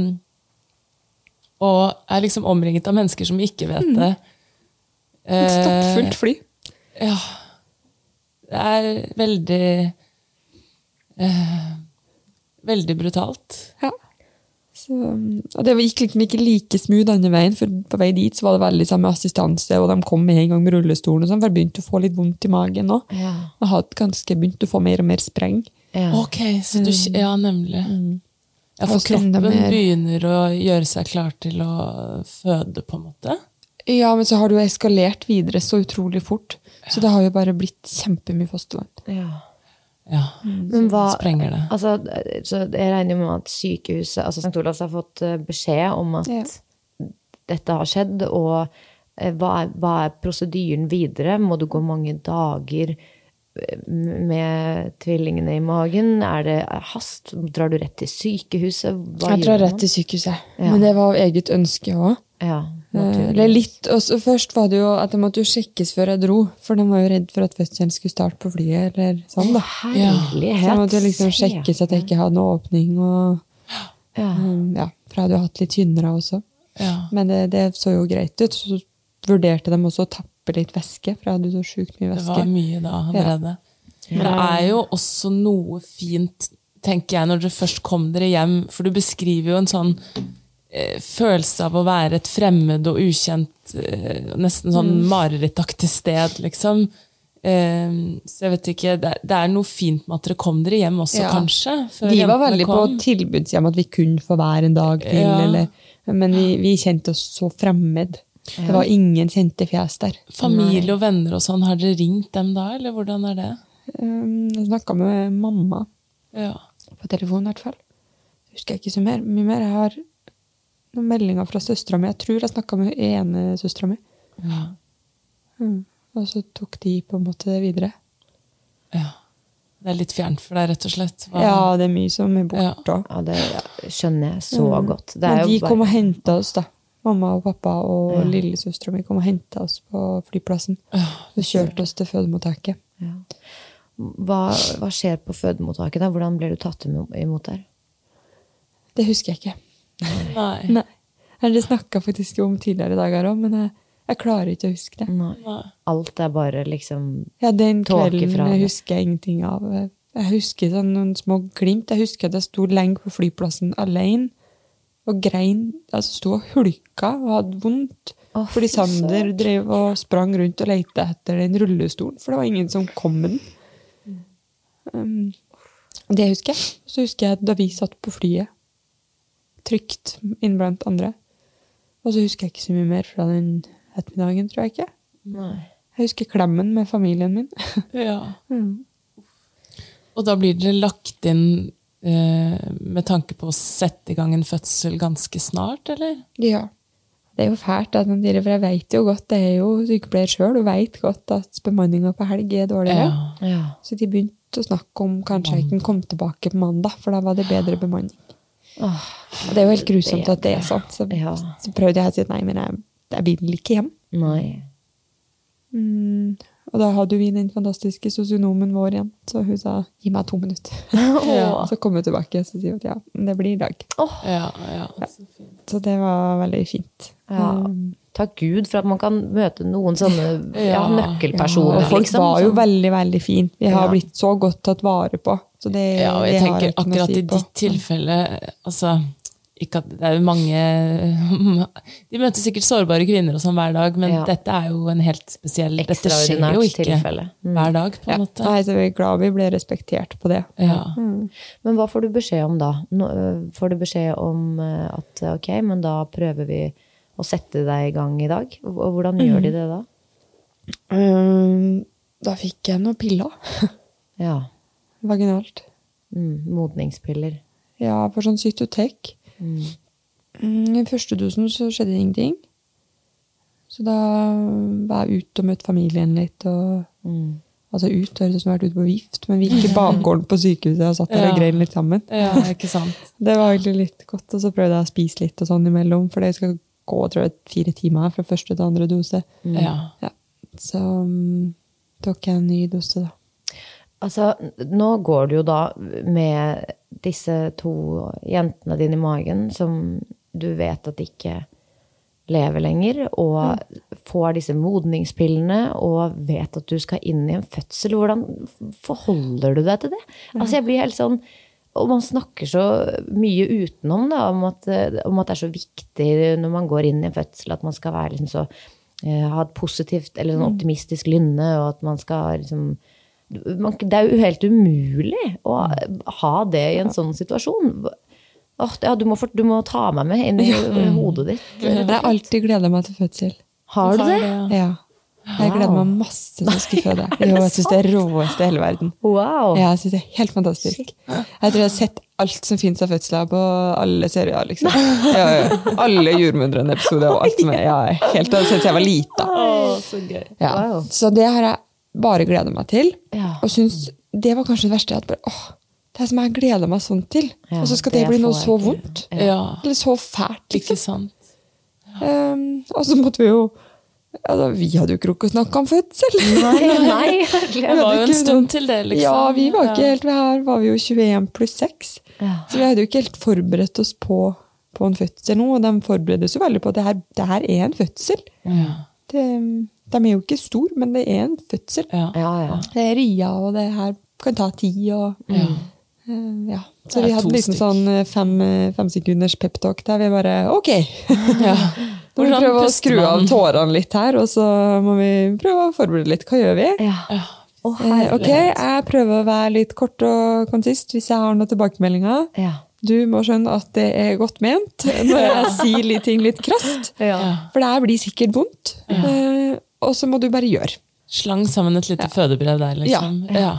Speaker 5: og er liksom omringet av mennesker som ikke
Speaker 3: Mm.
Speaker 5: vet det.
Speaker 4: Et stappfullt fly.
Speaker 5: Ja. Eh, Det er veldig eh, Veldig brutalt.
Speaker 4: Ja. Så, og det gikk liksom ikke like smooth andre veien, for på vei dit så var det veldig samme assistanse, og de kom med en gang med rullestolen, og sånn, for jeg begynte å få litt vondt i magen nå.
Speaker 3: Ja.
Speaker 4: Jeg hadde ganske begynt å få mer og mer spreng.
Speaker 3: Ja. Mm.
Speaker 5: Ok, så du kj- Ja, nemlig. Ja,
Speaker 4: Og
Speaker 5: For
Speaker 4: så enda
Speaker 5: kroppen
Speaker 4: mer-
Speaker 5: begynner å gjøre seg klar til å føde, på en måte?
Speaker 4: Ja, men så har det jo eskalert videre så utrolig fort, så det har jo bare blitt kjempemye fostervann.
Speaker 3: ja.
Speaker 5: Ja.
Speaker 3: Men hva
Speaker 5: Sprenger det.
Speaker 3: Altså, så jeg regner jo med at sykehuset, altså St. Olavs, har fått eh, beskjed om at
Speaker 4: Ja.
Speaker 3: dette har skjedd, og eh, hva er, hva er prosedyren videre? Må du gå mange dager eh, med tvillingene i magen? Er det hast? Drar du rett til sykehuset? Hva
Speaker 4: Jeg drar rett til sykehuset,
Speaker 3: Ja.
Speaker 4: men det var av eget ønske også.
Speaker 3: Ja,
Speaker 4: Eh,
Speaker 3: naturlig.
Speaker 4: Eller litt, og så først var det jo at jeg måtte jo sjekkes før jeg dro, for de var jo redd for at fødselen skulle starte på flyet, eller sånn da.
Speaker 3: Herlighet!
Speaker 4: Så jeg måtte jo liksom
Speaker 3: se.
Speaker 4: sjekkes at jeg ikke hadde noe åpning. Og,
Speaker 3: Ja.
Speaker 4: um, ja, for jeg hadde jo hatt litt tynnere også.
Speaker 5: Ja.
Speaker 4: Men det, det så jo greit ut. Så vurderte de også å tappe litt væske, for jeg hadde jo så sjukt mye
Speaker 5: Det var
Speaker 4: væske.
Speaker 5: mye da allerede. Men det er jo også noe fint, tenker jeg, når dere først kom dere hjem. For du beskriver jo en sånn eh, følelse av å være et fremmed og ukjent, eh, nesten sånn
Speaker 4: Mm.
Speaker 5: marerittaktig sted, liksom. Eh, så jeg vet ikke, det er, det er noe fint med at dere kom dere hjem også,
Speaker 4: Ja.
Speaker 5: kanskje? før
Speaker 4: De var
Speaker 5: jentene
Speaker 4: veldig på
Speaker 5: kom.
Speaker 4: tilbudshjem, at vi kunne få være en dag til.
Speaker 5: Ja.
Speaker 4: Eller, men vi, vi kjente oss så fremmed. Det var ingen kjente fjes der.
Speaker 5: Familie og venner og sånn, har dere ringt dem da, eller hvordan er det?
Speaker 4: Um, Jeg snakka med mamma
Speaker 5: Ja.
Speaker 4: på telefon, i hvert fall. Husker jeg ikke så mer, mye mer. Jeg har noen meldinger fra søstera mi. Jeg tror jeg snakka med ene søstera mi.
Speaker 5: Ja.
Speaker 4: Mm. Og så tok de på en måte det videre.
Speaker 5: ja. Det er litt fjernt for deg, rett og slett. Hva-
Speaker 4: Ja, det er mye som er borte.
Speaker 3: Ja, det skjønner jeg så godt. Det er
Speaker 4: Mm. Men
Speaker 3: jo
Speaker 4: de
Speaker 3: bare-
Speaker 4: kom og henta oss, da. Mamma og pappa og lillesøstera mi kom og henta oss på flyplassen. Og kjørte oss til fødemottaket.
Speaker 3: Hva, hva skjer på fødemottaket? da? Hvordan blir du tatt imo- imot der?
Speaker 4: Det husker jeg ikke.
Speaker 5: Nei.
Speaker 4: Nei. Eller Det snakka faktisk om tidligere dager òg, men jeg, jeg klarer ikke å huske det.
Speaker 3: Nei. Alt er bare liksom
Speaker 4: Ja, Den
Speaker 3: Tåke
Speaker 4: kvelden
Speaker 3: fra det.
Speaker 4: jeg husker jeg ingenting av. Jeg husker sånn noen små glimt. Jeg husker at jeg sto lenge på flyplassen alene og grein. Altså sto og hulka og hadde vondt.
Speaker 3: Å, fy
Speaker 4: fordi Sander drev og sprang rundt og lette etter den rullestolen, for det var ingen som kom med den.
Speaker 3: Mm.
Speaker 4: Um, det husker jeg. Så husker jeg da vi satt på flyet, trygt inn blant andre. Og så husker jeg ikke så mye mer fra den ettermiddagen, tror jeg ikke. Jeg husker klemmen med familien min.
Speaker 5: Ja. Og da blir dere lagt inn eh, med tanke på å sette i gang en fødsel ganske snart, eller?
Speaker 4: Ja. Det er jo fælt, at den dyrer, for jeg vet jo godt, det er jo sykepleier sjøl, og vet godt at bemanninga på helg er dårligere.
Speaker 3: Ja.
Speaker 4: Så de begynte å snakke om kanskje jeg kunne komme tilbake på mandag, for da var det bedre bemanning. Og det er jo helt grusomt at det er sånn. Så,
Speaker 3: Ja.
Speaker 4: så prøvde jeg å si at nei, men jeg, jeg vil ikke hjem.
Speaker 3: Nei.
Speaker 4: Mm. Og da hadde vi den fantastiske sosionomen vår igjen, så hun sa gi meg to minutter. Så kom hun tilbake og sier hun at ja, det blir i dag.
Speaker 5: Ja, ja.
Speaker 4: Så det var veldig fint. Mm.
Speaker 3: Ja. Takk Gud for at man kan møte noen sånne ja,
Speaker 5: Ja.
Speaker 3: nøkkelpersoner.
Speaker 4: og folk
Speaker 3: liksom,
Speaker 4: var jo
Speaker 3: sånn.
Speaker 4: veldig, veldig fint. Vi har
Speaker 3: Ja.
Speaker 4: blitt så godt tatt vare på. Så det,
Speaker 5: ja og jeg
Speaker 4: det har
Speaker 5: tenker
Speaker 4: ikke noe å
Speaker 5: akkurat
Speaker 4: si
Speaker 5: i
Speaker 4: på.
Speaker 5: ditt tilfelle, altså ikke at det er jo mange De møter sikkert sårbare kvinner og sånn hver dag, men
Speaker 3: Ja.
Speaker 5: dette er jo en helt spesiell Dette skjer jo
Speaker 3: Ekstraordinært
Speaker 5: ikke
Speaker 3: tilfelle.
Speaker 5: hver dag, på en måte.
Speaker 4: Nei, så vi er glad vi ble respektert på det.
Speaker 5: Ja.
Speaker 3: Men hva får du beskjed om da? Nå, øh, Får du beskjed om øh, at ok, men da prøver vi å sette deg i gang i dag? Og hvordan gjør de det da?
Speaker 4: Ehm, da fikk jeg noen piller.
Speaker 3: Ja.
Speaker 4: Vaginalt.
Speaker 3: Mm, modningspiller.
Speaker 4: Ja, for sånn cytotek. Mm, I første dosen så skjedde det ingenting. Så da var jeg ute og møtte familien litt. Og,
Speaker 5: Mm.
Speaker 4: Altså ut, det høres ut som jeg har vært ute på vift, men vi gikk i bakgården på sykehuset og satt der og
Speaker 5: Ja.
Speaker 4: grein litt sammen.
Speaker 5: ja, ikke sant.
Speaker 4: Det var egentlig litt godt, og så prøvde jeg å spise litt og sånn imellom, for det skal gå tror jeg, fire timer fra første til andre dose.
Speaker 5: Ja.
Speaker 4: Ja. Så mm, tok jeg en ny dose, da.
Speaker 3: Altså, nå går du jo da med disse to jentene dine i magen som du vet at ikke lever lenger, og får disse modningspillene og vet at du skal inn i en fødsel. Hvordan forholder du deg til det? Altså, jeg blir helt sånn og man snakker så mye utenom da, om, at, om at det er så viktig når man går inn i en fødsel, at man skal være liksom så, eh, ha et positivt eller sånn optimistisk lynne, og at man skal liksom man, Det er jo helt umulig å ha det i en sånn situasjon. Åh, ja, du, må fort- du må ta meg med inn i hodet ditt.
Speaker 4: Jeg har alltid gleda meg til fødsel.
Speaker 3: Har du det?
Speaker 4: Ja. Jeg gleder meg masse til jeg skal føde. Jo, jeg syns det er råeste i hele verden.
Speaker 3: Wow!
Speaker 4: Ja, jeg synes det er helt fantastisk. Jeg tror jeg har sett alt som fins av fødsler på alle serier. liksom. Ja, ja. Alle jordmødrene-episoder og alt som er ja, helt av- siden jeg var lita.
Speaker 5: så gøy.
Speaker 4: Ja.
Speaker 3: Wow.
Speaker 4: Så det har jeg bare gleda meg til.
Speaker 3: Ja.
Speaker 4: Og syns det var kanskje det verste. at bare, åh, Det er som jeg gleder meg sånn til.
Speaker 3: Ja,
Speaker 4: og så skal det,
Speaker 3: det
Speaker 4: bli noe
Speaker 3: får jeg
Speaker 4: så
Speaker 3: ikke.
Speaker 4: vondt.
Speaker 5: Ja,
Speaker 4: Eller så fælt. liksom.
Speaker 5: ikke sant.
Speaker 4: Ehm, og så måtte vi jo altså, Vi hadde jo ikke rukket å snakke om fødsel.
Speaker 3: Nei,
Speaker 5: Det var jo en stund til det, liksom.
Speaker 4: Ja, vi var ikke helt Her var vi jo 21 pluss 6.
Speaker 3: Ja.
Speaker 4: Så vi hadde jo ikke helt forberedt oss på, på en fødsel nå. Og de forbereder oss jo veldig på at det her, det her er en fødsel. Det, de er jo ikke stor, men det er en fødsel.
Speaker 5: Ja.
Speaker 3: Ja, ja.
Speaker 4: Det er ria, og det her kan ta tid. Og, Eh, ja. Så
Speaker 5: Det er
Speaker 4: vi hadde
Speaker 5: to
Speaker 4: liksom
Speaker 5: stykk.
Speaker 4: sånn eh, fem, eh, fem sekunders peptalk der vi bare Ok! Nå må vi
Speaker 5: Hvordan
Speaker 4: prøve å
Speaker 5: puster
Speaker 4: skru av
Speaker 5: man?
Speaker 4: tårene litt her, og så må vi prøve å forberede litt. Hva gjør vi?
Speaker 3: ja. Å,
Speaker 4: Eh, ok, jeg prøver å være litt kort og konsist hvis jeg har noen tilbakemeldinger.
Speaker 3: Ja.
Speaker 4: Du må skjønne at det er godt ment når jeg sier litt ting litt krast. For det her blir sikkert vondt. Eh, og så må du bare gjøre.
Speaker 5: Slang sammen et lite fødebrev der, liksom. Ja.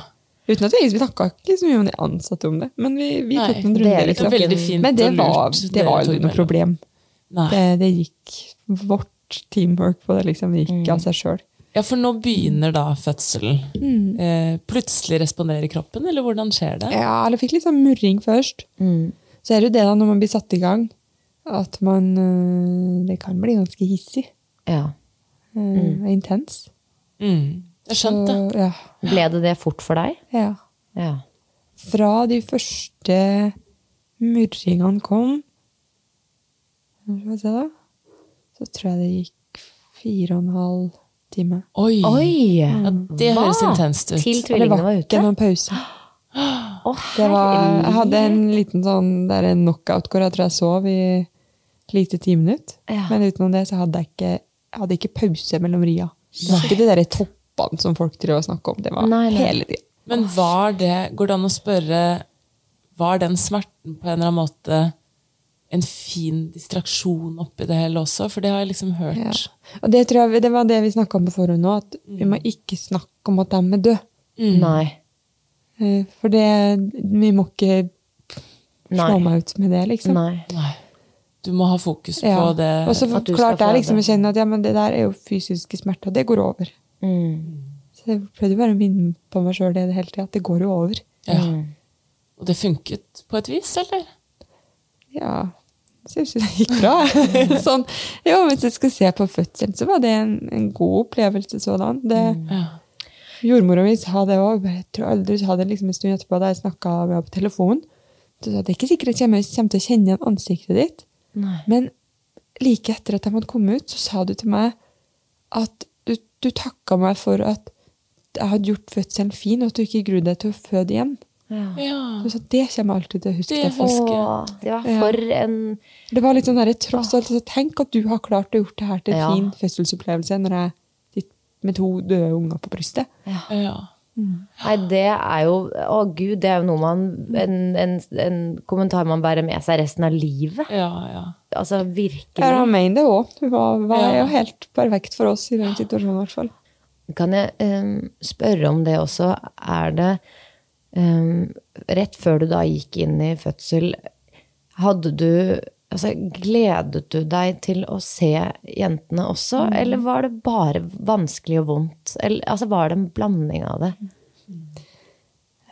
Speaker 4: Uten at vi, vi snakka ikke så mye om de ansatte om det, men vi, vi
Speaker 5: Nei,
Speaker 4: tok noen
Speaker 3: det er
Speaker 4: runder.
Speaker 3: ikke
Speaker 4: Liksom.
Speaker 3: noe
Speaker 5: veldig fint
Speaker 4: men det
Speaker 5: og lurt,
Speaker 4: var,
Speaker 5: dere
Speaker 4: det var
Speaker 5: to
Speaker 4: aldri
Speaker 5: imellom.
Speaker 4: noe problem.
Speaker 5: Nei.
Speaker 4: Det, det gikk Vårt teamwork på det liksom, det
Speaker 5: Mm.
Speaker 4: gikk av seg sjøl.
Speaker 5: ja, for nå begynner da fødselen. Eh, plutselig responderer kroppen, eller hvordan skjer det?
Speaker 4: Mm. Ja, eller fikk litt sånn murring først. Så er det jo det da når man blir satt i gang, at man øh, Det kan bli ganske hissig.
Speaker 3: ja.
Speaker 4: øh, Og intens.
Speaker 5: Mm. Jeg skjønte.
Speaker 4: Og, ja,
Speaker 3: Ble det det fort for deg?
Speaker 4: ja.
Speaker 3: Ja.
Speaker 4: Fra de første murringene kom Skal vi se, da. Så tror jeg det gikk fire og en halv time.
Speaker 5: Oi!
Speaker 3: Oi!
Speaker 5: Ja, det
Speaker 3: Hva?
Speaker 5: høres intenst ut.
Speaker 3: Til
Speaker 4: Og det
Speaker 3: tvillingene
Speaker 4: var
Speaker 3: var
Speaker 4: ikke
Speaker 3: ute?
Speaker 4: noen pause.
Speaker 3: Å,
Speaker 4: Det var, jeg
Speaker 3: herlig.
Speaker 4: hadde en liten sånn der en knockout hvor jeg tror jeg sov i et lite timinutt.
Speaker 3: Ja.
Speaker 4: Men utenom det så hadde jeg ikke, jeg hadde ikke pause mellom ria. Det var ikke de der toppene som folk driver og snakker om. Det var
Speaker 3: Nei, nei.
Speaker 4: hele tiden.
Speaker 5: Men var det Går det an å spørre Var den smerten på en eller annen måte en fin distraksjon oppi det hele også? For det har jeg liksom hørt.
Speaker 4: Ja. Og det, tror jeg, vi- det var det vi snakka om på forhånd nå, at vi
Speaker 3: Mm.
Speaker 4: må ikke snakke om at de er døde.
Speaker 3: Nei.
Speaker 4: Eh, For det, vi må ikke slå
Speaker 3: Nei.
Speaker 4: meg ut med det, liksom.
Speaker 3: Nei.
Speaker 5: Du må ha fokus på
Speaker 4: Ja.
Speaker 5: det.
Speaker 4: Og så
Speaker 3: At du skal
Speaker 4: klarte jeg
Speaker 3: få
Speaker 4: liksom
Speaker 3: det.
Speaker 4: å kjenne at ja, men det der er jo fysiske smerter, det går over.
Speaker 3: Mm.
Speaker 4: Så jeg prøvde bare å minne på meg sjøl det hele tida, at det går jo over.
Speaker 5: ja. Og det funket på et vis, eller?
Speaker 4: Ja, syns jo det gikk bra. sånn. Jo, hvis jeg skal se på fødselen, så var det en, en god opplevelse sådan. Det,
Speaker 3: Mm.
Speaker 5: Ja.
Speaker 4: Jordmora mi sa det òg. Jeg tror aldri hun sa det liksom en stund etterpå da jeg snakka med henne på telefon. Så sa, jeg, det er ikke sikkert jeg kommer, kommer til å kjenne igjen ansiktet ditt. Men like etter at jeg måtte komme ut, så sa du til meg at du, du takka meg for at jeg hadde gjort fødselen fin, og at du ikke grudde deg til å føde igjen.
Speaker 5: Ja.
Speaker 4: Så det kommer jeg alltid til å huske.
Speaker 5: Det
Speaker 4: Det,
Speaker 5: husker jeg.
Speaker 3: Åh, det var for en
Speaker 4: det var litt sånn der, tross alt, så Tenk at du har klart å gjort det her til en
Speaker 3: Ja.
Speaker 4: fin fødselsopplevelse når jeg sitter med to døde unger på brystet.
Speaker 5: Ja.
Speaker 3: Nei, det er jo Å gud, det er jo noe man En, en, en kommentar man bærer med seg resten av livet.
Speaker 5: Ja, ja.
Speaker 3: Altså virkelig.
Speaker 4: Ja, han mener det òg. Hun var, var
Speaker 5: Ja.
Speaker 4: jo helt perfekt for oss i den situasjonen, i hvert fall.
Speaker 3: Kan jeg eh, spørre om det også? Er det eh, Rett før du da gikk inn i fødsel, hadde du Altså, gledet du deg til å se jentene også,
Speaker 4: Mm.
Speaker 3: eller var det bare vanskelig og vondt? Eller, altså, var det en blanding av det?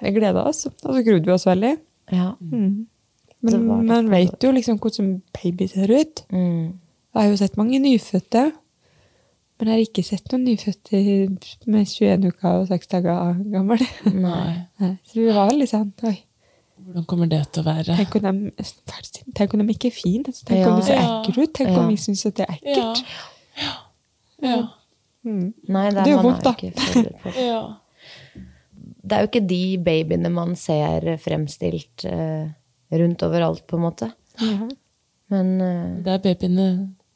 Speaker 4: Vi gleda oss, og så grudde vi oss veldig.
Speaker 3: Ja. Det
Speaker 4: Men
Speaker 3: var litt
Speaker 4: man vet jo liksom hvordan baby ser ut.
Speaker 3: Mm.
Speaker 4: Jeg har jo sett mange nyfødte. Men jeg har ikke sett noen nyfødte med 21 uker og 6 dager gammel.
Speaker 5: Nei.
Speaker 4: Nei, Så vi var litt sånn Oi,
Speaker 5: Hvordan kommer det til å være?
Speaker 4: tenk om de, tenk om de ikke er fine. Altså, Tenk om de ser
Speaker 5: Ja.
Speaker 4: ekle ut. Tenk
Speaker 3: Ja.
Speaker 4: om vi syns at det er
Speaker 5: Ja.
Speaker 4: ekkelt.
Speaker 5: Ja.
Speaker 3: Nei, det
Speaker 4: Det er
Speaker 3: er,
Speaker 4: jo
Speaker 3: man
Speaker 4: vondt,
Speaker 3: er
Speaker 4: da.
Speaker 3: jo ikke forberedt på.
Speaker 5: ja.
Speaker 3: det er jo ikke de babyene man ser fremstilt eh, rundt overalt, på en måte. Men eh,
Speaker 5: Det er babyene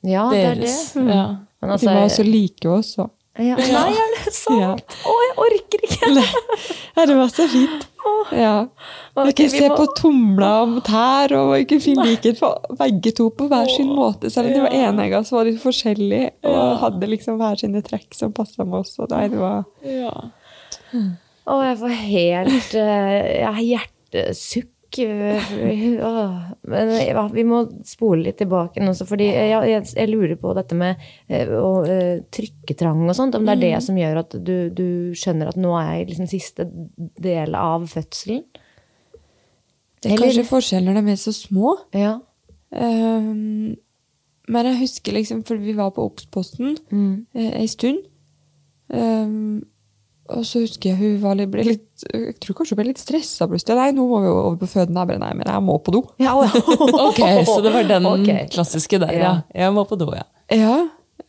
Speaker 3: ja, det er det.
Speaker 5: deres. Ja.
Speaker 3: Men
Speaker 4: De
Speaker 3: altså,
Speaker 4: var også like oss. og-
Speaker 3: ja. Nei, er det sant?
Speaker 4: Ja.
Speaker 3: Å, jeg orker ikke!
Speaker 4: Ja, det var så fint. Ja.
Speaker 3: Ok,
Speaker 4: ikke
Speaker 3: vi
Speaker 4: se
Speaker 3: må-
Speaker 4: på tomler og tær, og ikke finne likhet på begge to på hver sin måte. Selv om de var enegga, så var de forskjellige og hadde liksom hver sine trekk som passa med oss. Og nei, det var...
Speaker 5: ja.
Speaker 3: Å, jeg får helt eh, Jeg har hjertesukk. eh, åh. Men ja, vi må spole litt tilbake nå også, fordi eh, jeg, jeg, jeg lurer på dette med eh, å, eh, trykketrang og sånt. Om det er det som gjør at du, du skjønner at nå er jeg liksom siste del av fødselen?
Speaker 4: Det er
Speaker 3: Eller-
Speaker 4: kanskje forskjell når de er så små.
Speaker 3: Ja.
Speaker 4: Ehm, men jeg husker liksom, for vi var på Obs-posten eh, ei stund. Ehm, og så husker jeg hun var litt, ble litt Jeg tror kanskje hun ble litt stressa plutselig. Nei, nå må vi jo over på føden. Jeg bare, nei, men jeg må på do.
Speaker 3: Ja,
Speaker 5: Ok, så det var den
Speaker 3: Ok.
Speaker 5: klassiske der, ja.
Speaker 3: Ja.
Speaker 5: Jeg må på do, ja.
Speaker 4: Ja.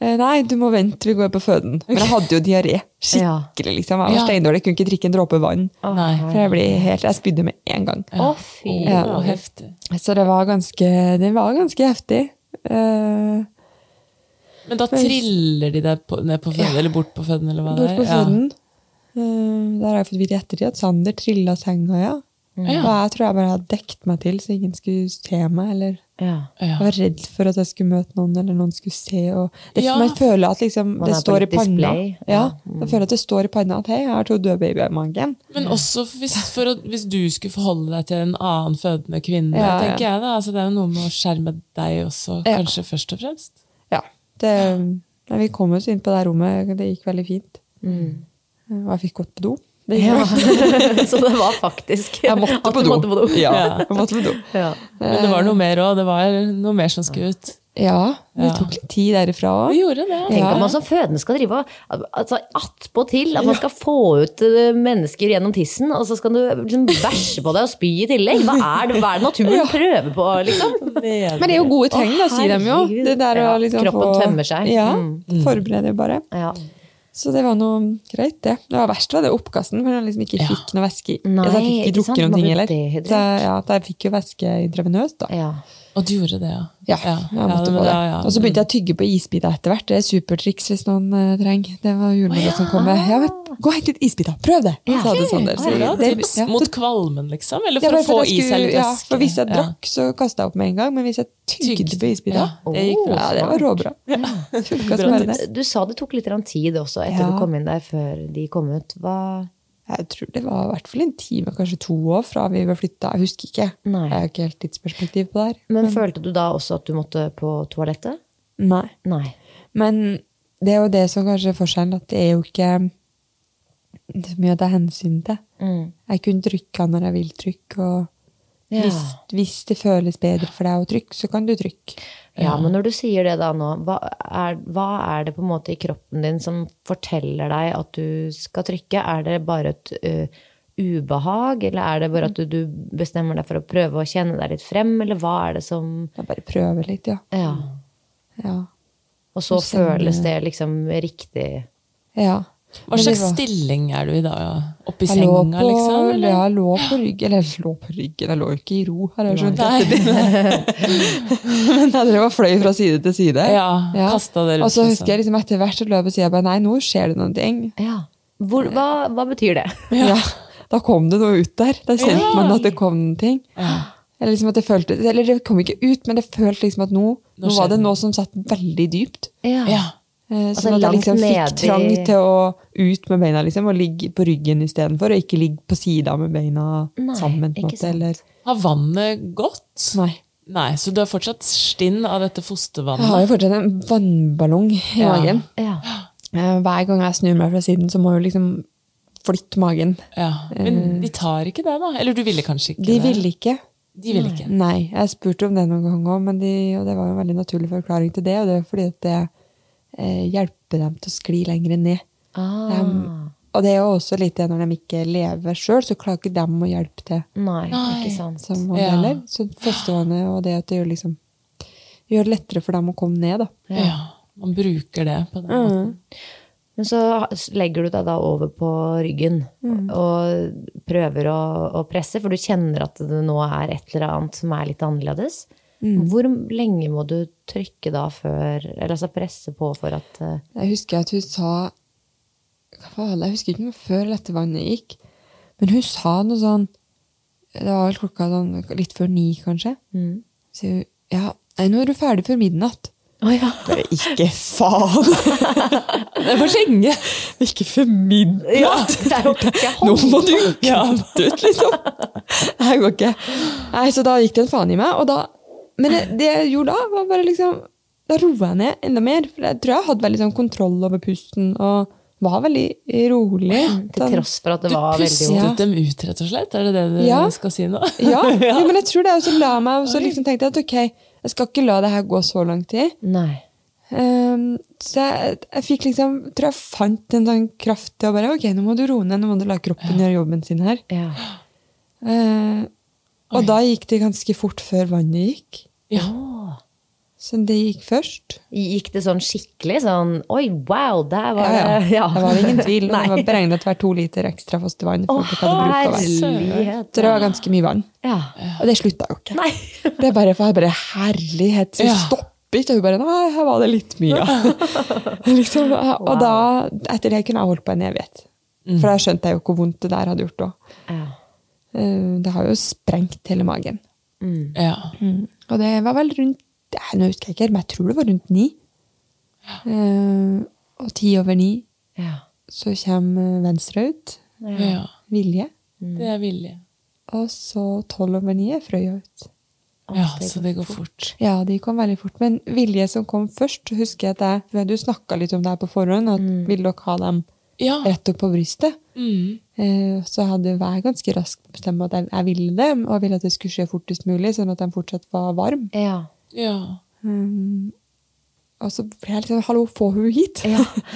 Speaker 4: Eh, Nei, du må vente, vi går på føden. Men jeg hadde jo diaré.
Speaker 3: Ja.
Speaker 4: Skikkelig, liksom. Jeg
Speaker 5: Ja.
Speaker 4: var steindårlig, jeg kunne ikke drikke en dråpe vann.
Speaker 5: Nei.
Speaker 4: For jeg, ble helt, jeg spydde med en gang.
Speaker 3: Å, fy.
Speaker 4: Ja.
Speaker 5: Å, heftig.
Speaker 4: Så det var ganske, det var ganske heftig. Eh,
Speaker 5: Men da triller de deg på, ned på føden, eller bort på føden, eller hva det
Speaker 4: bort
Speaker 5: er?
Speaker 4: på føden. Eh, der har jeg fått vite i ettertid at Sander trilla senga, ja.
Speaker 3: Mm.
Speaker 4: Og
Speaker 5: Ja.
Speaker 4: jeg tror jeg bare hadde dekt meg til så ingen skulle se meg. eller...
Speaker 3: Ja.
Speaker 5: Ja.
Speaker 4: Jeg var redd for at jeg skulle møte noen, eller noen skulle se. Og det,
Speaker 5: Ja.
Speaker 4: Man føler at liksom,
Speaker 3: Man
Speaker 4: det
Speaker 3: er på
Speaker 4: står i
Speaker 3: litt
Speaker 4: panna.
Speaker 3: display.
Speaker 4: Ja,
Speaker 3: Ja. Mm.
Speaker 4: Jeg føler at det står i panna at hei, jeg har to døde babyer i magen.
Speaker 5: Men også hvis, for å, hvis du skulle forholde deg til en annen fødende kvinne,
Speaker 4: Ja, ja.
Speaker 5: tenker jeg da. Altså, det er jo noe med å skjerme deg også,
Speaker 4: Ja.
Speaker 5: kanskje først og fremst.
Speaker 4: Ja, det, men vi kom oss inn på det rommet, det gikk veldig fint. Og jeg fikk gått på do. Mm. Det gikk bra.
Speaker 3: Så det var faktisk
Speaker 4: Jeg måtte
Speaker 3: at
Speaker 4: på
Speaker 3: du
Speaker 4: do.
Speaker 3: Måtte på do.
Speaker 4: Ja,
Speaker 5: Ja.
Speaker 4: jeg måtte på do.
Speaker 3: Ja.
Speaker 5: Men det var noe mer òg. Det var noe mer som skulle ut.
Speaker 4: Ja, det
Speaker 5: Ja.
Speaker 4: tok litt tid derifra
Speaker 5: Vi
Speaker 4: òg.
Speaker 5: gjorde det.
Speaker 3: Tenk at man som fødende skal drive og altså, attpåtil at man skal få ut eh, mennesker gjennom tissen, og så skal du liksom bæsje på deg og spy i tillegg. Hva er det, hva er det naturen prøver på, liksom?
Speaker 4: Men det er jo gode tegn, da, sier de jo.
Speaker 3: herregud.
Speaker 4: Det der å
Speaker 3: Ja,
Speaker 4: liksom
Speaker 3: kroppen
Speaker 4: få-
Speaker 3: tømmer seg.
Speaker 4: Ja,
Speaker 3: Mm.
Speaker 4: forbereder jo bare.
Speaker 3: Ja.
Speaker 4: Så det var noe greit, det. Det var verst var det oppkasten, for jeg liksom ikke fikk noe væske. i- altså, jeg fikk
Speaker 3: Nei, ikke sant,
Speaker 4: ikke drukket
Speaker 3: man
Speaker 4: noen ting
Speaker 3: blir
Speaker 4: heller.
Speaker 3: dehydrert.
Speaker 4: Så jeg- ja, jeg fikk jo væske intravenøst, da.
Speaker 3: ja.
Speaker 5: Og du gjorde det, ja.
Speaker 4: Ja, jeg måtte
Speaker 5: men
Speaker 4: få det.
Speaker 5: ja, ja.
Speaker 4: Og så begynte jeg å tygge på isbiter etter hvert. Det er supertriks hvis noen eh, trenger. Det var jordmora som kom med. Ja, men, gå og hent litt isbiter. Prøv det! sa det Sander. Så
Speaker 5: Bra
Speaker 4: det-
Speaker 5: tips
Speaker 4: ja.
Speaker 5: mot kvalmen, liksom? Eller
Speaker 4: Ja,
Speaker 5: for
Speaker 4: bare
Speaker 5: å få
Speaker 4: at jeg
Speaker 5: i seg
Speaker 4: skulle-
Speaker 5: litt
Speaker 4: ja,
Speaker 5: væske?
Speaker 4: for hvis jeg
Speaker 5: Ja.
Speaker 4: drakk, så kasta jeg opp med en gang. Men hvis jeg tygde
Speaker 5: Tygde.
Speaker 4: på isbiter
Speaker 5: Ja, det gikk bra.
Speaker 4: ja, det var råbra. Funka som bare det.
Speaker 3: Du sa det tok litt grann tid også etter
Speaker 4: Ja.
Speaker 3: du kom inn der, før de kom ut. Hva
Speaker 4: Jeg tror det var i hvert fall en time, kanskje to år fra vi var flytta. Jeg husker ikke.
Speaker 3: Nei.
Speaker 4: Jeg har ikke helt tidsperspektiv på det her.
Speaker 3: men følte du da også at du måtte på toalettet?
Speaker 4: Nei.
Speaker 3: Nei.
Speaker 4: Men det er jo det som kanskje er forskjellen, at det er jo ikke så mye å ta hensyn til.
Speaker 5: Mm.
Speaker 4: Jeg kunne trykke når jeg vil trykke, og
Speaker 3: Ja.
Speaker 4: hvis, hvis det føles bedre for deg å trykke, så kan du trykke.
Speaker 3: Ja, men når du sier det da nå, hva er, hva er det på en måte i kroppen din som forteller deg at du skal trykke? Er det bare et ø, ubehag, eller er det bare at du, du bestemmer deg for å prøve å kjenne deg litt frem, eller hva er det som
Speaker 4: Jeg bare prøver litt, ja.
Speaker 3: Ja.
Speaker 4: Ja.
Speaker 3: Og så
Speaker 4: stemmer.
Speaker 3: føles det liksom riktig.
Speaker 4: ja.
Speaker 5: Hva slags stilling er du i dag? Oppi
Speaker 4: Jeg lå
Speaker 5: senga,
Speaker 4: på,
Speaker 5: liksom? eller?
Speaker 4: ja, jeg lå på ryggen, eller jeg lå på ryggen, jeg lå jo ikke i ro, har jeg skjønt.
Speaker 5: Nei.
Speaker 4: Men jeg drev og fløy fra side til side.
Speaker 5: Ja, kastet det rundt,
Speaker 4: Og så
Speaker 5: liksom.
Speaker 4: husker jeg liksom etter hvert så løp og sier jeg bare, nei, nå skjer det noen ting.
Speaker 3: Ja. Hvor, hva, hva betyr det?
Speaker 4: Ja. Da kom det noe ut der. Da kjente man at det kom noen ting. Eller, liksom at det følte, eller det kom ikke ut, men det følte liksom at nå, nå,
Speaker 5: skjer
Speaker 4: var det
Speaker 5: det.
Speaker 4: noe som satt veldig dypt.
Speaker 5: Ja.
Speaker 4: Eh,
Speaker 3: Altså,
Speaker 4: Sånn at jeg
Speaker 3: langt
Speaker 4: liksom fikk
Speaker 3: ned i-
Speaker 4: trang til å ut med beina liksom, og ligge på ryggen istedenfor, og ikke ligge på sida med beina
Speaker 3: Nei,
Speaker 4: sammen. på en
Speaker 3: ikke
Speaker 4: måte,
Speaker 3: sant.
Speaker 4: eller...
Speaker 5: Har vannet gått?
Speaker 4: Nei.
Speaker 5: Nei, så du har fortsatt stinn av dette
Speaker 4: Jeg har
Speaker 5: fostervannet?
Speaker 4: jo fortsatt en vannballong i
Speaker 5: Ja.
Speaker 4: magen.
Speaker 3: Ja.
Speaker 4: Eh, Hver gang jeg snur meg fra siden, så må jeg jo liksom flytte magen.
Speaker 5: Ja. Men de tar ikke det, da? Eller du ville kanskje ikke
Speaker 4: Eh. De
Speaker 5: det?
Speaker 4: ville ikke.
Speaker 5: De ville ikke.
Speaker 4: Nei, jeg spurte om det noen ganger òg, men de, og det var jo en veldig naturlig forklaring til det. Og det er fordi at det eh, hjelper dem til å skli lenger ned.
Speaker 3: Ah,
Speaker 4: Em, og det er jo også litt det når de ikke lever sjøl, så klarer ikke dem å hjelpe til
Speaker 3: nei,
Speaker 5: Nei.
Speaker 3: ikke sant.
Speaker 4: som
Speaker 5: Ja.
Speaker 4: modeller. Så fostervannet og det at det gjør liksom gjør det lettere for dem å komme ned, da.
Speaker 5: Ja. Man bruker det på den
Speaker 4: Mm.
Speaker 5: måten.
Speaker 3: Men så legger du deg da over på ryggen
Speaker 4: Mm.
Speaker 3: og prøver å, å presse, for du kjenner at det nå er et eller annet som er litt annerledes.
Speaker 4: Mm.
Speaker 3: Hvor lenge må du trykke da før Eller altså presse på for at eh,
Speaker 4: Jeg husker at hun sa hva faen, Jeg husker ikke om det var før eller etter vannet gikk, men hun sa noe sånn Det var vel klokka sånn, litt før ni, kanskje. Så hun ja, nei, nå er du ferdig før midnatt. Bare, ikke faen!
Speaker 5: Det var lenge!
Speaker 4: ikke før midnatt!
Speaker 3: Ja! Det er jo ikke
Speaker 4: Nå
Speaker 3: hånd!
Speaker 4: må du kutte ut, liksom! Det går ikke. Nei, så da gikk det en faen i meg. Og da, men det, det jeg gjorde da, var bare liksom Da roa jeg ned enda mer. For jeg tror jeg hadde veldig sånn kontroll over pusten og var veldig rolig.
Speaker 3: Til
Speaker 4: Sånn-
Speaker 3: tross for at det
Speaker 5: Du
Speaker 3: var veldig
Speaker 5: pustet
Speaker 3: vondt.
Speaker 4: Ja.
Speaker 5: dem ut, rett og slett? Er det det du
Speaker 4: Ja.
Speaker 5: skal si nå?
Speaker 4: Ja, jo, men jeg tror det. Og så la jeg meg, og så liksom tenkte jeg at ok, jeg skal ikke la det her gå så lang tid.
Speaker 3: Nei.
Speaker 4: Ehm, så jeg, jeg fikk liksom, tror jeg fant en sånn kraft til å bare ok, nå må du roe ned, nå må du la kroppen gjøre jobben sin her.
Speaker 3: Ja.
Speaker 4: Eh, og da gikk det ganske fort før vannet gikk.
Speaker 5: Ja.
Speaker 4: Så det gikk først.
Speaker 3: Gikk det sånn skikkelig sånn Oi, wow, der var
Speaker 4: Ja,
Speaker 3: det
Speaker 4: ja. Det var ingen tvil. og
Speaker 3: Nei.
Speaker 4: Det var beregnet til å være to liter ekstra fostervann.
Speaker 3: Å,
Speaker 4: for at det hadde bruk for vann.
Speaker 3: herlighet!
Speaker 4: Så det var ganske mye vann.
Speaker 3: Ja.
Speaker 4: Og det slutta jo ikke.
Speaker 3: Nei.
Speaker 4: Det er bare, for jeg bare herlighet, så
Speaker 5: Ja.
Speaker 4: stoppet. Og hun bare nei, her var det litt mye. liksom, og da, etter det kunne jeg holdt på en evighet.
Speaker 3: Mm.
Speaker 4: For da skjønte jeg jo hvor vondt det der hadde gjort òg.
Speaker 3: Ja.
Speaker 4: Det har jo sprengt hele magen.
Speaker 5: ja.
Speaker 4: Og det var vel rundt eh, Nå husker jeg ikke, helt, men jeg tror det var rundt ni. Eh, Og ti over ni
Speaker 3: ja.
Speaker 4: så kommer venstre ut. Mm.
Speaker 5: ja.
Speaker 4: Vilje.
Speaker 5: Det er vilje.
Speaker 4: Og så tolv over ni er Frøya ut.
Speaker 5: Ja, så det går fort.
Speaker 4: Ja, de kom veldig fort. Men Vilje som kom først, husker jeg at jeg, for du snakka litt om det her på forhånd, at ville dere ha dem
Speaker 5: Ja.
Speaker 4: rett opp på brystet?
Speaker 5: Mm.
Speaker 4: Eh, Så hadde jo jeg ganske raskt bestemt at jeg, jeg ville dem, og ville at det skulle skje fortest mulig, sånn at de fortsatt var varm.
Speaker 3: ja.
Speaker 5: Ja.
Speaker 4: Um, og så ble jeg litt sånn Hallo, få hun hit?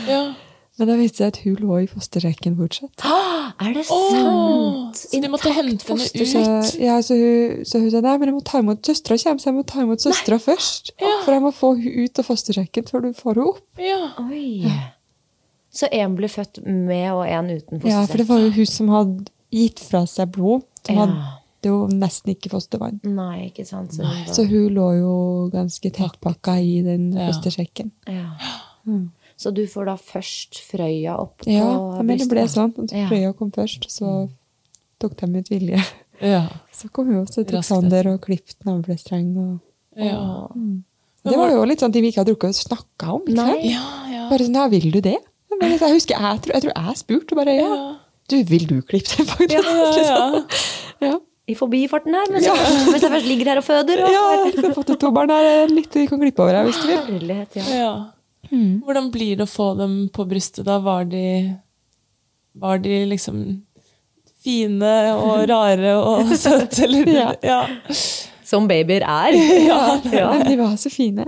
Speaker 5: ja.
Speaker 4: Men da viste det seg at hun lå i fosterrekken fortsatt.
Speaker 3: Er det
Speaker 5: Å,
Speaker 3: sant?
Speaker 5: så de måtte hente henne
Speaker 4: Så,
Speaker 5: ut?
Speaker 4: ja, så, hun, så hun sa nei, men jeg må ta imot søstera kommer, så jeg må ta imot søstera først. For jeg må få hun ut av fosterrekken før du får henne opp.
Speaker 5: Ja.
Speaker 3: Oi. Så en ble født med og en uten
Speaker 4: Ja, for
Speaker 3: fostersekk?
Speaker 4: det var jo hun som hadde gitt fra seg blod. Som
Speaker 3: Ja.
Speaker 4: hadde jo nesten ikke fostervann.
Speaker 3: Nei, ikke sant. Så hun
Speaker 4: Så hun lå jo ganske tettpakka i den
Speaker 5: Ja.
Speaker 4: fostersekken.
Speaker 3: var- ja. Så du får da først Frøya opp på
Speaker 4: Mm. Ja, jeg mener det Mm. ble
Speaker 3: brystet?
Speaker 4: sånn. at
Speaker 3: Ja.
Speaker 4: Frøya kom først, så tok de ut Vilje.
Speaker 5: ja.
Speaker 4: Så kom hun også til
Speaker 5: Raskt
Speaker 4: Sander og klippet navlestreng. Og...
Speaker 5: ja.
Speaker 4: Det var jo litt sånn ting vi ikke hadde drukket og snakka om. Ikke
Speaker 3: Nei.
Speaker 4: sant?
Speaker 5: Ja, ja.
Speaker 4: Bare sånn, ja, vil du det? Jeg, mener, jeg husker, jeg tror jeg, tror jeg spurte og bare, ja. Du, vil du klippe det, faktisk? Liksom.
Speaker 5: ja.
Speaker 4: ja.
Speaker 3: I forbifarten her, mens, jeg først, mens jeg først ligger her og føder? Og...
Speaker 4: ja jeg har fått et to barn her, eh, litt vi kan klippe over her, hvis du vil.
Speaker 3: Herlighet, ja.
Speaker 5: ja. Hvordan blir det å få dem på brystet da? Var de, var de liksom fine og rare og søte, eller?
Speaker 4: Ja.
Speaker 5: ja.
Speaker 3: Som babyer er.
Speaker 4: Ja.
Speaker 3: Ja.
Speaker 4: men de var så fine.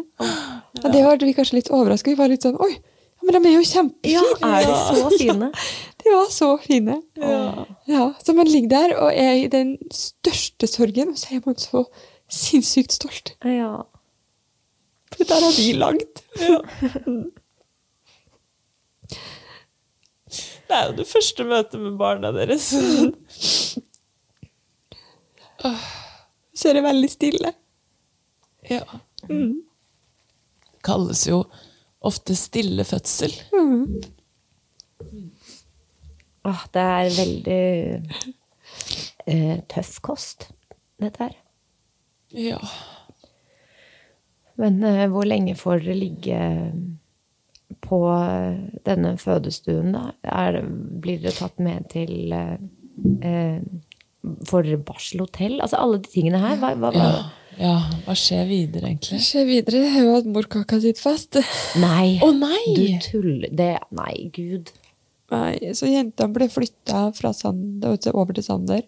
Speaker 4: Ja, det var vi kanskje litt overraska. Vi var litt sånn Oi, ja, men de er jo
Speaker 3: Ja,
Speaker 4: kjempefine!
Speaker 3: er de så fine?
Speaker 4: De var så fine. Ja, Så man ligger der og er i den største sorgen, og så er man så sinnssykt stolt.
Speaker 3: Ja.
Speaker 4: For der har vi langt.
Speaker 5: Det er jo det første møtet med barna deres.
Speaker 4: Så er det veldig stille.
Speaker 5: Ja. Hmm. Det kalles jo ofte stille fødsel.
Speaker 3: Åh, det er veldig eh, tøff kost, dette her.
Speaker 5: Ja.
Speaker 3: Men eh, hvor lenge får dere ligge på eh, denne fødestuen, da? Er, blir dere tatt med til eh, eh, Får dere barselhotell? Altså alle de tingene her. Hva, hva, hva?
Speaker 5: ja. Ja, hva skjer videre, egentlig?
Speaker 4: Skje videre er jo at morkaka sitter fast.
Speaker 3: Nei!
Speaker 5: Å, nei!
Speaker 3: Du tuller. Det Nei, gud.
Speaker 4: Nei, så jentene ble flytta fra Sander, og til- over til Sander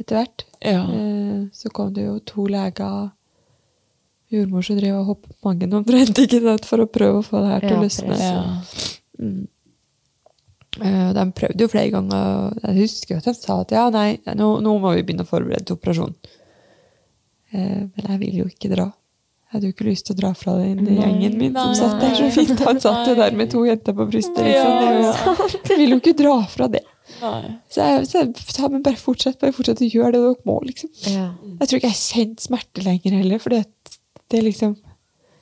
Speaker 4: etter hvert.
Speaker 5: Ja.
Speaker 4: Eh, Så kom det jo to leger, jordmor som drev og hoppet mange omtrent, ikke sant, for å prøve å få det her til å
Speaker 3: Ja,
Speaker 4: løsne.
Speaker 5: Ja.
Speaker 4: Eh, og De prøvde jo flere ganger, og jeg husker jo at de sa at ja, nei, nå, nå må vi begynne å forberede til operasjon. Eh, Men jeg ville jo ikke dra. Jeg hadde jo ikke lyst til å dra fra den gjengen min som
Speaker 5: nei.
Speaker 4: satt der så fint. Han satt jo der med to jenter på brystet. Liksom.
Speaker 5: Ja,
Speaker 4: Det er jo- Jeg ville jo ikke dra fra det.
Speaker 5: Nei.
Speaker 4: Så jeg, så jeg sa, men bare fortsett, bare fortsett å gjøre det dere må, liksom.
Speaker 3: Ja.
Speaker 4: Jeg tror ikke jeg kjente smerte lenger heller, for det, det liksom,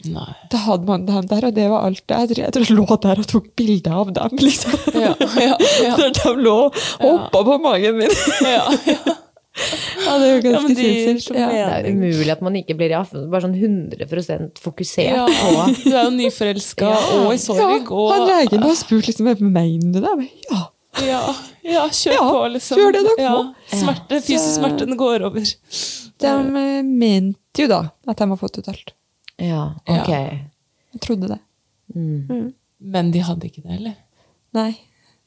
Speaker 5: Nei.
Speaker 4: da hadde man dem der, og det var alt. Jeg tror jeg, tror jeg lå der og tok bilder av dem, liksom.
Speaker 5: Ja, ja, ja.
Speaker 4: Når de lå og hoppa på magen min.
Speaker 5: Ja, ja.
Speaker 4: Ja, det er jo
Speaker 5: Ja, men
Speaker 4: ganske
Speaker 5: de gir
Speaker 4: sinnssykt.
Speaker 5: så
Speaker 4: Ja.
Speaker 3: Det er
Speaker 5: mening.
Speaker 3: umulig at man ikke blir ja, bare sånn 100 fokusert
Speaker 5: Ja,
Speaker 3: på
Speaker 5: du er jo nyforelska og i
Speaker 4: Ja,
Speaker 5: sorg og
Speaker 4: han legen har spurt liksom, mener du det? Jeg bare, Ja.
Speaker 5: Ja, ja kjør
Speaker 4: Ja,
Speaker 5: på, liksom.
Speaker 4: gjør det dere
Speaker 5: ja.
Speaker 4: må.
Speaker 5: Smerte, fysisk smerte, den går over.
Speaker 4: De eh, mente jo da at de har fått ut alt.
Speaker 3: Ja, ok.
Speaker 4: Jeg trodde det.
Speaker 5: Men de hadde ikke det, eller?
Speaker 4: Nei,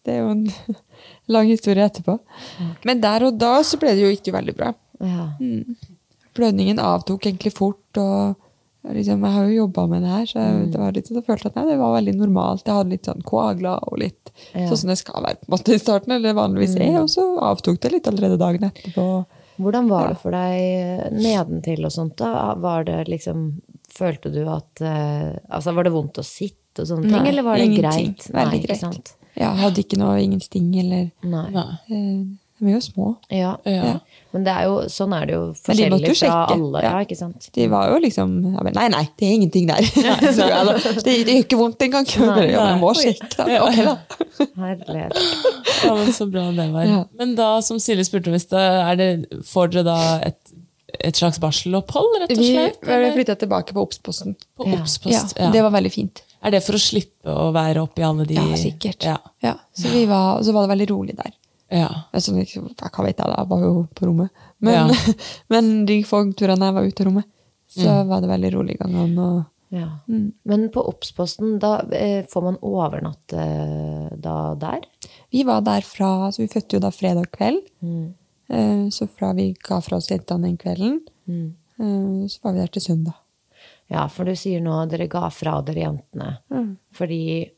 Speaker 4: det er jo en lang historie etterpå. Men der og da så ble det jo ikke veldig bra.
Speaker 3: Ja.
Speaker 4: Blødningen avtok egentlig fort, og liksom, jeg har jo jobba med det her, så
Speaker 3: Mm.
Speaker 4: jeg, det var litt sånn, jeg følte at nei, det var veldig normalt. Jeg hadde litt sånn koagler og litt
Speaker 3: Ja. Mm.
Speaker 4: sånn som det skal være på en måte i starten, eller det vanligvis er, og så avtok det litt allerede dagen etterpå.
Speaker 3: Hvordan var det for deg nedentil og sånt da? Var det liksom Følte du at eh, Altså, var det vondt å sitte og sånne ting,
Speaker 4: Nei,
Speaker 3: eller var det
Speaker 4: ingenting.
Speaker 3: greit?
Speaker 4: Veldig
Speaker 3: ikke
Speaker 4: greit.
Speaker 3: sant?
Speaker 4: Ja, jeg hadde ikke noe, ingen sting eller
Speaker 3: Nei.
Speaker 5: Nei.
Speaker 4: eh, De er jo små.
Speaker 3: Ja.
Speaker 5: Ja.
Speaker 3: Men det er jo, sånn er det jo
Speaker 4: Men de måtte
Speaker 3: forskjellig
Speaker 4: jo
Speaker 3: fra
Speaker 4: sjekke.
Speaker 3: alle. Ja,
Speaker 4: Ja.
Speaker 3: ikke sant?
Speaker 4: De var jo liksom jeg bare, Nei, nei, det er ingenting der. Nei, så jeg da, det det gjør ikke vondt engang. Jeg bare, Ja, men jeg må sjekke, da. Ok, da.
Speaker 3: Herlighet.
Speaker 5: Ja, men Så bra det var.
Speaker 4: Ja.
Speaker 5: Men da, som Silje spurte om i stad, er det- får dere da et, et slags barselopphold, rett og
Speaker 4: Vi
Speaker 5: slett?
Speaker 4: ble
Speaker 5: eller?
Speaker 4: flytta tilbake på Obs-posten.
Speaker 5: På
Speaker 3: Ja.
Speaker 5: obs-post.
Speaker 4: Ja,
Speaker 5: Ja.
Speaker 4: Det var veldig fint.
Speaker 5: Er det for å slippe å være oppi alle de
Speaker 4: Ja, sikkert.
Speaker 5: Ja.
Speaker 4: Ja, så, vi var, så var det veldig rolig der.
Speaker 5: ja.
Speaker 4: Men sånn, ikke- hva vet jeg, da? Jeg var jo på rommet. Men, men de få turene jeg var ute av rommet, så var det veldig rolig i gangene. Og
Speaker 3: Ja.
Speaker 4: Mm.
Speaker 3: Men på Obs-posten, da eh, får man overnatte eh, da der?
Speaker 4: vi var der fra Så vi fødte jo da fredag kveld. Eh, Så fra vi ga fra oss jentene den kvelden, eh, så var vi der til søndag.
Speaker 3: Ja, for du sier nå dere ga fra dere jentene.
Speaker 4: Mm.
Speaker 3: Fordi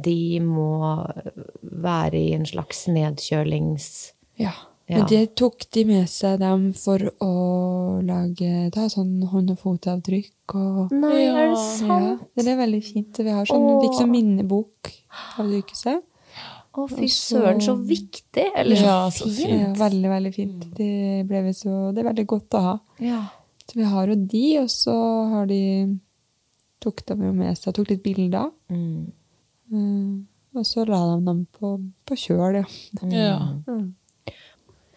Speaker 3: de må eh, være i en slags nedkjølings...
Speaker 4: Ja.
Speaker 3: Ja.
Speaker 4: Men det tok de med seg dem for å lage da, sånn hånd- og fotavtrykk og
Speaker 3: Nei, er det
Speaker 4: Ja,
Speaker 3: sant?
Speaker 5: Sånn.
Speaker 4: det er veldig fint. Vi har sånn, vi fikk sånn minnebok av sykehuset.
Speaker 3: Å, fy søren, så viktig! Eller så
Speaker 5: Ja, så Mm.
Speaker 3: fint.
Speaker 4: Det er veldig, veldig fint. Det, ble vi så, det er veldig godt å ha.
Speaker 3: Ja.
Speaker 4: Så vi har jo de, og så har de tok de jo med seg, tok litt bilder.
Speaker 5: Mm.
Speaker 4: Eh, og så la de dem på, på kjøl, ja.
Speaker 5: ja. Mm.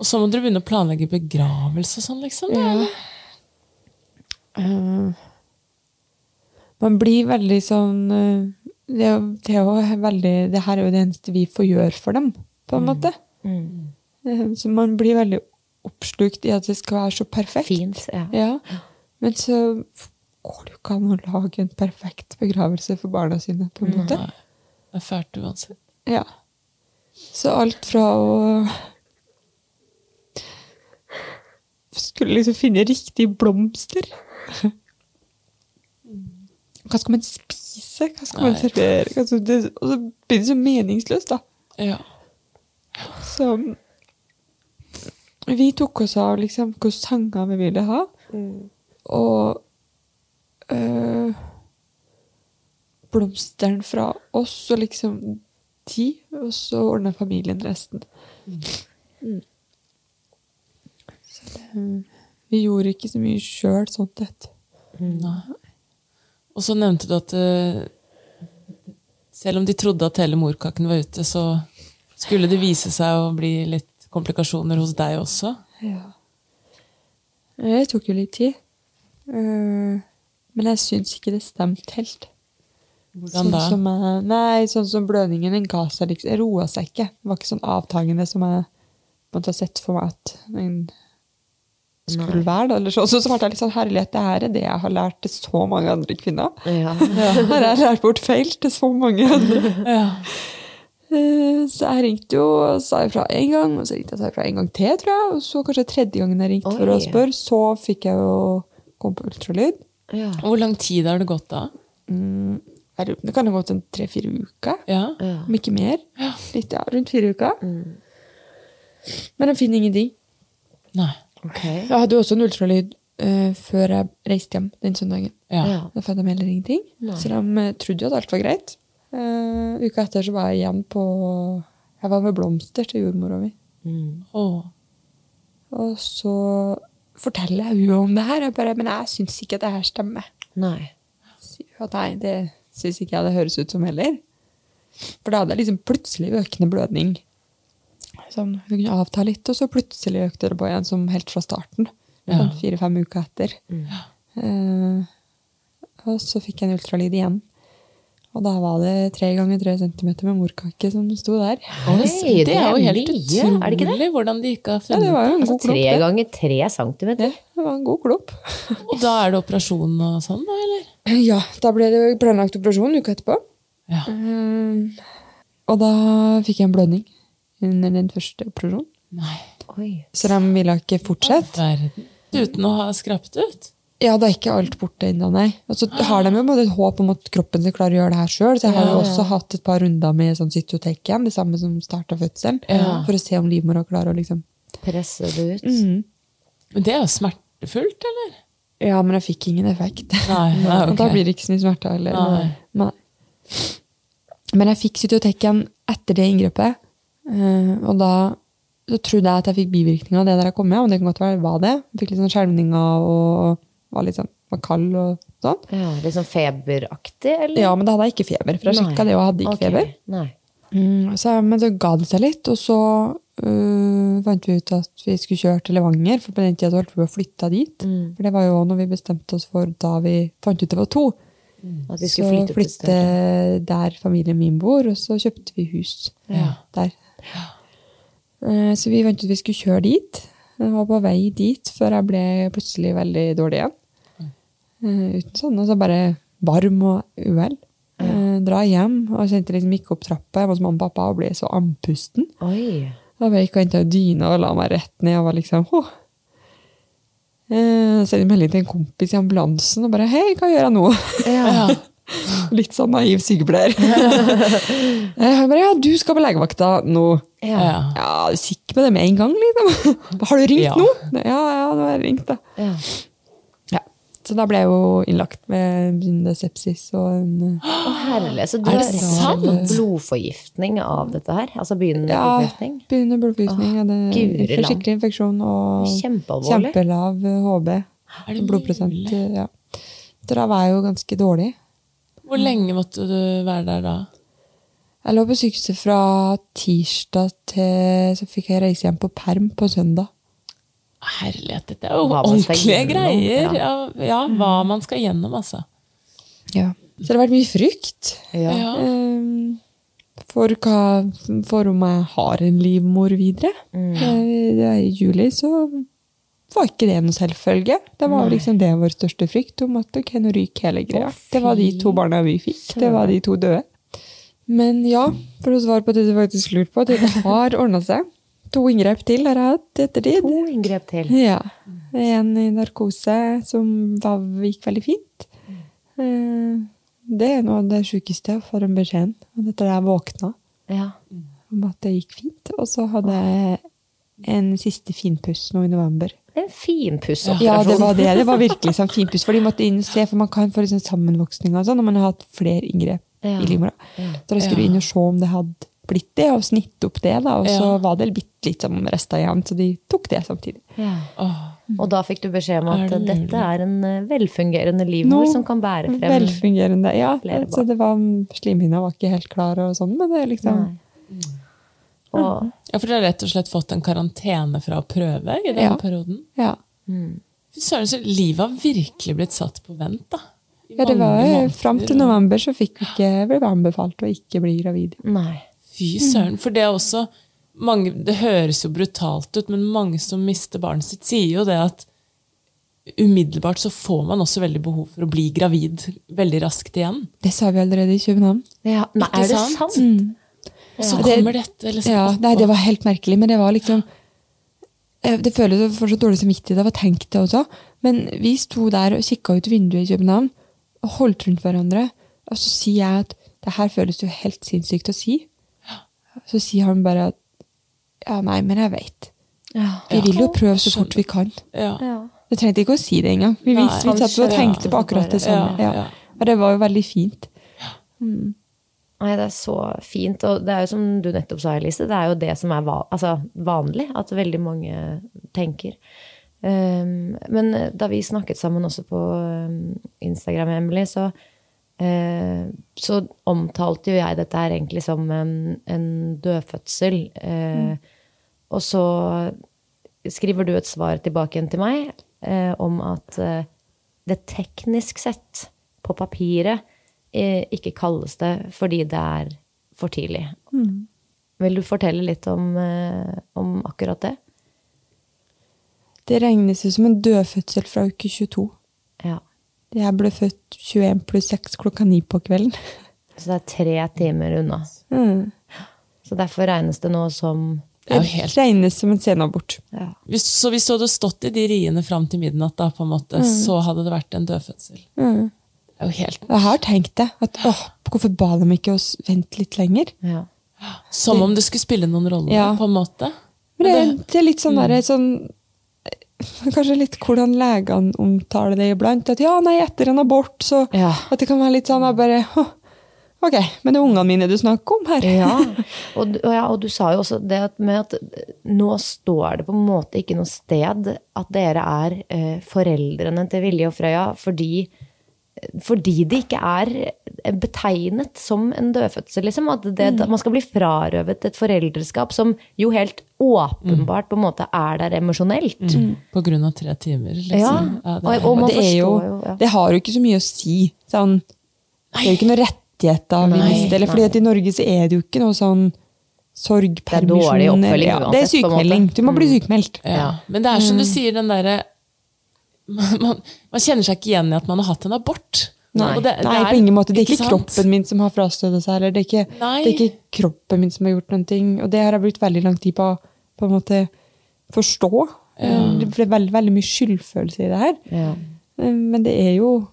Speaker 5: Og så må dere begynne å planlegge begravelse og sånn, liksom? da, eller?
Speaker 4: Eh, man blir veldig sånn eh, det, er jo- det er jo veldig Det her er jo det eneste vi får gjøre for dem, på en
Speaker 3: Mm.
Speaker 4: måte. Eh, Så man blir veldig oppslukt i at det skal være så perfekt.
Speaker 3: Fint, ja.
Speaker 4: Ja. Men så går det jo ikke an å lage en perfekt begravelse for barna sine, på en måte.
Speaker 5: Det er fælt uansett.
Speaker 4: Ja. Så alt fra å Skulle liksom finne riktige blomster. Hva skal man spise? Hva skal man
Speaker 5: Nei.
Speaker 4: servere? Hva skal det, og så blir det så meningsløst, da.
Speaker 5: Ja.
Speaker 4: Så vi tok oss av liksom hvilke sanger vi ville ha. Og eh, øh, blomstene fra oss og liksom ti, og så ordna familien resten. Så det- Vi gjorde ikke så mye sjøl sånn sett.
Speaker 5: Og så nevnte du at eh, selv om de trodde at hele morkaken var ute, så skulle det vise seg å bli litt komplikasjoner hos deg også.
Speaker 4: Ja. Det tok jo litt tid. Eh, Men jeg syns ikke det stemte helt.
Speaker 5: Hvordan da?
Speaker 4: Sånn som, jeg, nei, sånn som blødningen den ga seg liksom, jeg roa seg ikke. Det var ikke sånn avtagende som jeg måtte ha sett for meg at den skulle være. Da, eller så. Og så så ble jeg litt sånn herlighet, det her er det jeg har lært til så mange andre kvinner.
Speaker 6: Ja.
Speaker 4: Her har jeg lært bort feil til så mange andre. Eh, Så jeg ringte jo og sa ifra én gang, og så ringte jeg og sa ifra en gang til, tror jeg. Og så kanskje tredje gangen jeg ringte for
Speaker 6: Oi.
Speaker 4: å spørre, så fikk jeg jo komme på ultralyd.
Speaker 6: Ja.
Speaker 5: Og Hvor lang tid har det gått da?
Speaker 4: Jeg lurer på om Det kan ha gått en tre-fire uker.
Speaker 5: Ja.
Speaker 4: Om ikke mer. Litt, ja, rundt fire uker. Men jeg finner ingenting.
Speaker 5: Nei.
Speaker 6: Ok.
Speaker 4: Jeg hadde jo også en ultralyd eh, før jeg reiste hjem den søndagen.
Speaker 5: Ja.
Speaker 6: Ja.
Speaker 4: Da fant de heller ingenting. Så de eh, trodde jo at alt var greit. Eh, uka etter så var jeg igjen på Jeg var med blomster til jordmora mi.
Speaker 5: Åh.
Speaker 4: Og så forteller jeg henne om det her. Jeg bare, men jeg syns ikke at det her stemmer.
Speaker 6: Nei.
Speaker 4: sier hun at nei, det syns ikke jeg det høres ut som heller. For da hadde jeg liksom plutselig økende blødning. Som hun kunne avta litt, og så plutselig økte det på igjen, som helt fra starten.
Speaker 5: Ja.
Speaker 4: Sånn Fire-fem uker etter.
Speaker 3: Mm.
Speaker 4: Eh, og så fikk jeg en ultralyd igjen. Og da var det tre ganger tre centimeter med morkake som sto der.
Speaker 3: Oi,
Speaker 5: det er jo helt
Speaker 3: mye, er det ikke det?
Speaker 5: utrolig hvordan de ikke har
Speaker 4: Ja,
Speaker 5: funnet
Speaker 4: det var jo en
Speaker 3: Altså
Speaker 4: god
Speaker 3: tre
Speaker 4: klump. det.
Speaker 3: ganger tre centimeter.
Speaker 4: Ja, det var en god klump.
Speaker 5: Og da er det operasjon og sånn, da, eller?
Speaker 4: Ja, da ble det planlagt operasjon uka etterpå.
Speaker 5: Ja.
Speaker 4: Eh, og da fikk jeg en blødning under den første operasjonen.
Speaker 5: Nei.
Speaker 3: Oi.
Speaker 4: Så de ville ikke fortsette.
Speaker 5: Verden. Uten å ha skrapt ut?
Speaker 4: Ja, da er ikke alt borte ennå, nei. Og så har de jo både et håp om at kroppen skal klare å gjøre det her sjøl. Så jeg har jo også hatt et par runder med sånn cytotek igjen, det samme som starta fødselen, for å se om livmora klarer å liksom
Speaker 3: Presser du ut?
Speaker 4: Mm.
Speaker 5: Men det er jo smertefullt, eller?
Speaker 4: Ja, men jeg fikk ingen effekt.
Speaker 5: Nei, nei, ok.
Speaker 4: Og Da blir det ikke så mye smerte heller.
Speaker 5: Nei.
Speaker 4: Men jeg fikk cytoteken etter det inngrepet, eh, og da så trodde jeg at jeg fikk bivirkninger av det der jeg kom med, og det kan godt være det var det. Jeg fikk litt sånn skjelvninger og var litt sånn var kald og sånn.
Speaker 3: Ja, litt sånn feberaktig, eller?
Speaker 4: Ja, men da hadde jeg ikke feber, for jeg
Speaker 3: Nei.
Speaker 4: sjekka det, og jeg hadde ikke
Speaker 3: Ok,
Speaker 4: feber.
Speaker 3: Nei.
Speaker 4: Mm, så, men så ga det seg litt, og så øh, fant vi ut at vi skulle kjøre til Levanger, for på den tida så holdt vi på å flytte dit. For det var jo når vi bestemte oss for da vi fant ut det var to.
Speaker 3: At vi skulle flytte
Speaker 4: så
Speaker 3: opp et
Speaker 4: flytte
Speaker 3: sted.
Speaker 4: der familien min bor, og så kjøpte vi hus der. Eh, Så vi fant ut vi skulle kjøre dit. Jeg var på vei dit før jeg ble plutselig veldig dårlig igjen. Eh, Uten sånn, og så bare varm og uhell. Eh, Dra hjem, og kjente liksom ikke opp trappa hjemme hos mamma og pappa og ble så andpusten.
Speaker 3: Oi.
Speaker 4: Da bare gikk og hentet dyna og la meg rett ned og var liksom Hå. Eh, Sendte melding til en kompis i ambulansen og bare Hei, hva gjør jeg nå? Litt sånn naiv sykepleier. Eh, Han bare Ja, du skal på legevakta nå.
Speaker 5: Ja. ja.
Speaker 4: Ja, er du sikker på det med en gang, liksom? Har du ringt
Speaker 5: Ja.
Speaker 4: nå? Ja, ja, nå har jeg ringt, da.
Speaker 3: Ja.
Speaker 4: Ja. Så da ble jeg jo innlagt med begynnende sepsis og en eh,
Speaker 3: Å, herlig. Så du
Speaker 5: Er
Speaker 3: har
Speaker 5: det
Speaker 3: rett og
Speaker 5: sant?
Speaker 3: slett blodforgiftning av dette her? Altså begynnende
Speaker 4: Ja,
Speaker 3: blodforgiftning?
Speaker 4: begynnende blodforgiftning. hadde
Speaker 3: guri
Speaker 4: en
Speaker 3: land.
Speaker 4: Forsiktig infeksjon og
Speaker 3: Kjempealvorlig.
Speaker 4: kjempelav eh, HB.
Speaker 5: Er det
Speaker 4: Blodprosent.
Speaker 5: mulig?
Speaker 4: eh, Ja. Så da var jeg jo ganske dårlig.
Speaker 5: Hvor lenge måtte du være der da?
Speaker 4: Jeg lå på sykehuset fra tirsdag til Så fikk jeg reise hjem på perm på søndag.
Speaker 5: Herlighet, dette er jo
Speaker 3: Hva man skal
Speaker 5: ordentlige
Speaker 3: gjennom,
Speaker 5: greier. Ja. ja, hva
Speaker 4: Mm.
Speaker 5: man skal gjennom, altså.
Speaker 4: Ja. Så det har vært mye frykt.
Speaker 3: Ja.
Speaker 5: Ja.
Speaker 4: Ehm, for, hva, for om jeg har en livmor videre.
Speaker 3: Mm.
Speaker 4: Eh, det er I juli så var ikke det noen selvfølge. Det var liksom det vår største frykt, om at ok, nå ryker hele greia. det var de to barna vi fikk. Det var de to døde. Men ja, for å svare på det du faktisk lurer på, det har ordna seg. To inngrep til har jeg hatt i ettertid.
Speaker 3: To inngrep til.
Speaker 4: Ja.
Speaker 3: Mm.
Speaker 4: En i narkose som da gikk veldig fint.
Speaker 3: Mm.
Speaker 4: Eh, Det er noe av det sjukeste jeg får en beskjed om. Og Dette der jeg våkna
Speaker 3: Ja.
Speaker 4: om at det gikk fint. Og så hadde jeg en siste finpuss nå i november.
Speaker 3: En finpussoperasjon.
Speaker 4: Ja, det var det. Det var virkelig sånn finpuss. For de måtte inn og se, for man kan få liksom litt sånn sammenvoksning og sånn når man har hatt flere inngrep
Speaker 3: Ja.
Speaker 4: i livmora. Så da skulle du inn og se om det hadde splitt det og snitte opp det. da, Og så
Speaker 5: Ja.
Speaker 4: var det bitte litt som resta jevnt, så de tok det samtidig.
Speaker 3: Og da fikk du beskjed om at
Speaker 5: Er det
Speaker 3: dette er en eh, velfungerende
Speaker 4: Nå-
Speaker 3: livmor som kan bære frem
Speaker 4: Velfungerende. Ja,
Speaker 3: flere
Speaker 4: så det var, slimhinna var ikke helt klar og sånn, men det liksom
Speaker 3: Nei. Og
Speaker 5: Ja, for dere har rett og slett fått en karantene fra å prøve i denne
Speaker 4: Ja.
Speaker 5: perioden.
Speaker 4: Ja.
Speaker 5: Fy søren, så livet har virkelig blitt satt på vent, da. I
Speaker 4: Ja, det var
Speaker 5: mange
Speaker 4: jo
Speaker 5: måneder,
Speaker 4: Fram til
Speaker 5: og-
Speaker 4: november så fikk vi ikke, ble vi anbefalt å ikke bli gravid.
Speaker 3: nei.
Speaker 5: Fy søren. For det er også mange, Det høres jo brutalt ut, men mange som mister barnet sitt, sier jo det at umiddelbart så får man også veldig behov for å bli gravid veldig raskt igjen.
Speaker 4: Det sa vi allerede i København.
Speaker 3: Ja, nei
Speaker 5: Ikke
Speaker 3: er det
Speaker 5: sant? Mm.
Speaker 3: sant?
Speaker 5: Og så
Speaker 4: Det-
Speaker 5: kommer dette liksom
Speaker 4: Ja,
Speaker 5: opp,
Speaker 4: nei,
Speaker 5: og-
Speaker 4: Det var helt merkelig, men det var liksom eh, Det føles jo for så dårlig samvittighet av å tenke det også, men vi sto der og kikka ut vinduet i København og holdt rundt hverandre, og så sier jeg at det her føles jo helt sinnssykt å si. Så sier han bare at ja, nei, men jeg veit. Vi vil jo prøve så fort vi kan.
Speaker 5: ja.
Speaker 4: Jeg trengte ikke å si det engang. Vi,
Speaker 5: Nei.
Speaker 4: visste- vi satt og tenkte på akkurat det samme.
Speaker 5: Ja,
Speaker 4: Ja,
Speaker 5: ja.
Speaker 4: Og det var jo veldig fint.
Speaker 3: Nei, det er så fint. Og det er jo som du nettopp sa, Elise, det er jo det som er va altså, vanlig at veldig mange tenker. Um, men da vi snakket sammen også på um, Instagram, Emily, så, eh, så omtalte jo jeg dette her egentlig som en, en dødfødsel.
Speaker 5: Mm.
Speaker 3: Eh, Og så skriver du et svar tilbake igjen til meg eh, om at eh, det teknisk sett, på papiret, eh, ikke kalles det fordi det er for tidlig. Vil du fortelle litt om, eh, om akkurat det?
Speaker 4: Det regnes jo som en dødfødsel fra uke 22.
Speaker 3: Ja.
Speaker 4: Jeg ble født 21 pluss 6 klokka 9 på kvelden.
Speaker 3: Så det er tre timer unna.
Speaker 4: Mm.
Speaker 3: Så derfor regnes det nå som
Speaker 5: Det er jo
Speaker 4: Det
Speaker 5: helt
Speaker 4: regnes som en senabort.
Speaker 5: Hvis, så hvis du hadde stått i de riene fram til midnatt, da, på en måte, så hadde det vært en dødfødsel. Det er jo helt
Speaker 4: Jeg har tenkt det. At, åh, hvorfor ba de ikke oss vente litt lenger?
Speaker 3: Ja.
Speaker 5: Som om det skulle spille noen rolle,
Speaker 4: Ja.
Speaker 5: på en måte.
Speaker 4: Men det, det er litt sånn derre sånn,
Speaker 5: Mm.
Speaker 4: Kanskje litt hvordan legene omtaler det iblant. At ja, nei, etter en abort, så
Speaker 3: Ja.
Speaker 4: At det kan være litt sånn jeg bare «Hå, Ok, men det er ungene mine du snakker om her.
Speaker 3: Ja. Og, du- og ja, og du sa jo også det at med at nå står det på en måte ikke noe sted at dere er eh, foreldrene til Vilje og Frøya fordi, fordi det ikke er eh, betegnet som en dødfødsel. Liksom. At det, at man skal bli frarøvet et foreldreskap som jo helt åpenbart på en måte er der emosjonelt.
Speaker 5: På grunn av tre timer, liksom.
Speaker 3: Ja.
Speaker 5: Mm. Ja, det
Speaker 3: Og,
Speaker 5: er-
Speaker 3: og man
Speaker 4: det, er
Speaker 3: forstår
Speaker 4: jo,
Speaker 3: jo, ja.
Speaker 4: det har jo ikke så mye å si. Sånn, det er jo ikke noen rettigheter vi
Speaker 3: Nei,
Speaker 4: mister. Eller, fordi at I Norge så er det jo ikke noe sånn sorg,
Speaker 3: er
Speaker 4: permisjon
Speaker 3: dårlig oppfølging
Speaker 4: eller- ja, Det er
Speaker 3: uansett, på en måte. Mm.
Speaker 4: sykemelding. Du må bli sykemeldt.
Speaker 5: ja. Men det er som
Speaker 4: Mm.
Speaker 5: du sier, den derre man, man, man kjenner seg ikke igjen i at man har hatt en abort.
Speaker 4: Nei,
Speaker 5: Og det- det
Speaker 4: nei,
Speaker 5: er-
Speaker 4: på ingen måte. Det er ikke,
Speaker 5: sant?
Speaker 4: kroppen min som har frastøtet seg. Eller det, er ikke,
Speaker 5: Nei.
Speaker 4: det er ikke kroppen min som har gjort noen ting. Og det har jeg brukt veldig lang tid på å på en måte forstå. Eh, Det ble veldig, veldig mye skyldfølelse i det her. Eh, Men det er jo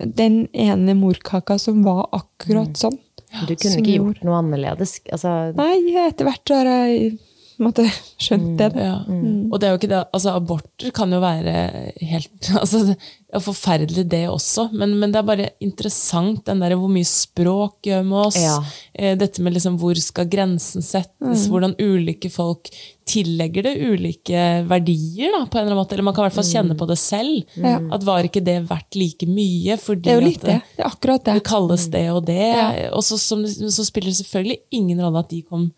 Speaker 4: den ene morkaka som var
Speaker 3: Mm.
Speaker 4: akkurat sånn.
Speaker 3: Du kunne ikke gjort noe annerledes. Altså,
Speaker 4: Nei, etter hvert har jeg på en måte, skjønt det. da.
Speaker 5: Ja.
Speaker 4: Mm.
Speaker 5: Og det er jo ikke det, altså aborter kan jo være helt altså, det er Forferdelig, det også. Men, men det er bare interessant den der, hvor mye språk gjør med oss.
Speaker 3: Ja.
Speaker 5: Eh, Dette med liksom, hvor skal grensen
Speaker 4: Mm.
Speaker 5: settes, hvordan ulike folk tillegger det ulike verdier. Da, på en eller annen måte. Eller man kan i hvert
Speaker 4: Mm.
Speaker 5: fall kjenne på det selv. At var ikke det verdt like mye? Fordi
Speaker 4: Det er jo
Speaker 5: at
Speaker 4: litt det. Det er sånn. akkurat det.
Speaker 5: det kalles det og det. Og så, som, så spiller det selvfølgelig ingen rolle at de kom,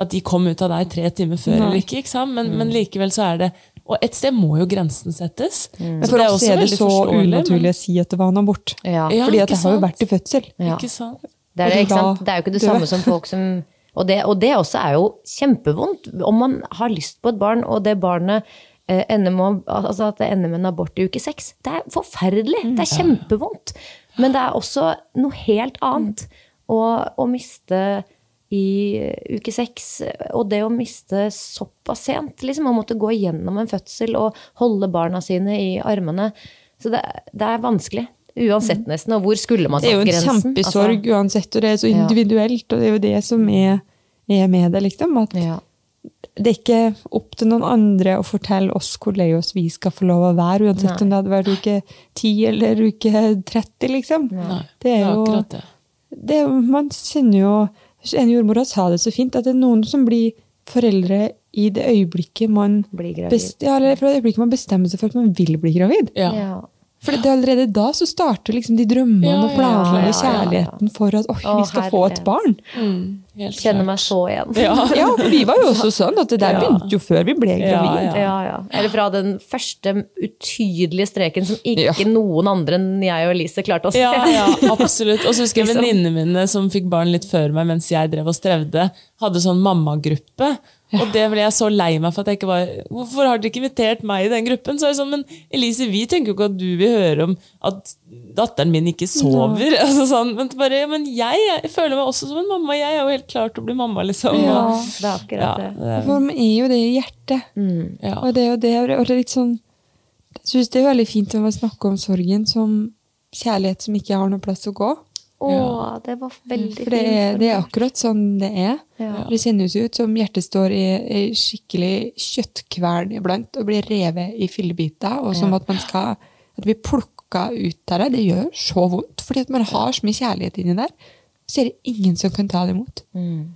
Speaker 5: at de kom ut av deg tre timer før eller ikke. ikke sant? Men,
Speaker 4: Mm.
Speaker 5: men likevel så er det Og et sted må jo grensen settes.
Speaker 4: Mm. Men for oss er det så unaturlig å si at det var en abort.
Speaker 3: Ja.
Speaker 5: Ja,
Speaker 4: Fordi
Speaker 5: ikke
Speaker 4: at det har jo
Speaker 5: sant?
Speaker 4: vært i fødsel.
Speaker 5: Men, Ikke sant?
Speaker 3: Det er,
Speaker 4: Og
Speaker 3: det,
Speaker 4: du
Speaker 3: ikke sant?
Speaker 4: la
Speaker 3: det er jo ikke det
Speaker 4: dø.
Speaker 3: samme som folk som og det, og det også er jo kjempevondt. Om man har lyst på et barn, og det barnet eh, ender med, å- altså at det ender med en abort i uke seks, det er forferdelig. Det er
Speaker 4: Mm.
Speaker 3: kjempevondt. Men det er også noe helt annet å, å miste i uke seks. Og det å miste såpass sent, liksom, å måtte gå gjennom en fødsel og holde barna sine i armene. Så det, det er vanskelig. Uansett, nesten. Og hvor skulle man
Speaker 4: Mm. Det
Speaker 3: satt
Speaker 4: er jo en
Speaker 3: altså, grensen?
Speaker 4: kjempesorg
Speaker 3: Altså,
Speaker 4: uansett, og det er så individuelt. Og det er jo det som er, er med det, liksom. At
Speaker 3: Ja.
Speaker 4: det er ikke opp til noen andre å fortelle oss hvor lei oss vi skal få lov å være, uansett om det hadde vært uke 10 eller uke 30, liksom.
Speaker 5: Nei,
Speaker 4: Det er jo
Speaker 5: akkurat det.
Speaker 4: det, er jo- Man kjenner jo En jordmora sa det så fint, at det er noen som blir foreldre i det øyeblikket man,
Speaker 3: Blir gravid.
Speaker 4: best- ja, eller fra det øyeblikket man bestemmer seg for at man vil bli gravid.
Speaker 5: Ja.
Speaker 3: Ja.
Speaker 4: For det er allerede da så starter liksom de drømmene
Speaker 5: Ja, Mm.
Speaker 4: og
Speaker 3: ja,
Speaker 4: planene og
Speaker 3: ja, ja.
Speaker 4: kjærligheten for at «Åh,
Speaker 3: Å,
Speaker 4: vi skal få et
Speaker 3: herlighet.
Speaker 4: barn.
Speaker 5: Helt
Speaker 3: Kjenner
Speaker 5: klart.
Speaker 3: meg så igjen.
Speaker 4: Ja, for vi var jo også sånn at det der
Speaker 5: Ja.
Speaker 4: begynte jo før vi ble
Speaker 5: Ja,
Speaker 4: gravid.
Speaker 5: ja.
Speaker 3: Ja, ja. Eller fra den første utydelige streken som ikke
Speaker 4: Ja.
Speaker 3: noen andre enn jeg og Elise klarte å se.
Speaker 5: Ja, ja, absolutt. Og så husker jeg venninnene mine som fikk barn litt før meg mens jeg drev og strevde, hadde sånn mammagruppe. Og det ble jeg så lei meg for at jeg ikke var Hvorfor har dere ikke invitert meg i den gruppen? Så er det sånn, Men Elise, vi tenker jo ikke at du vil høre om at datteren min ikke sover. Altså sånn, men, bare, ja, men jeg, jeg føler meg også som en mamma. Jeg er jo helt klar til å bli mamma, liksom.
Speaker 3: Ja,
Speaker 5: Og-
Speaker 3: det er
Speaker 5: Ja,
Speaker 3: akkurat
Speaker 5: Mm.
Speaker 3: det.
Speaker 5: det-
Speaker 4: For man er jo det i hjertet.
Speaker 5: ja.
Speaker 4: Og det er jo det, og det er litt sånn Jeg syns det er veldig fint å snakke om sorgen som kjærlighet som ikke har noen plass å gå.
Speaker 3: Å, det var veldig
Speaker 4: Mm, For det er, det er akkurat sånn det er.
Speaker 3: Ja.
Speaker 4: Det kjennes jo ut som hjertet står i, i skikkelig kjøttkvern iblant og blir revet i fillebiter, og som at man skal at vi plukka ut av det. Det gjør så vondt, fordi at man har så mye kjærlighet inni der. Så er det ingen som kan ta det imot.
Speaker 3: Mm.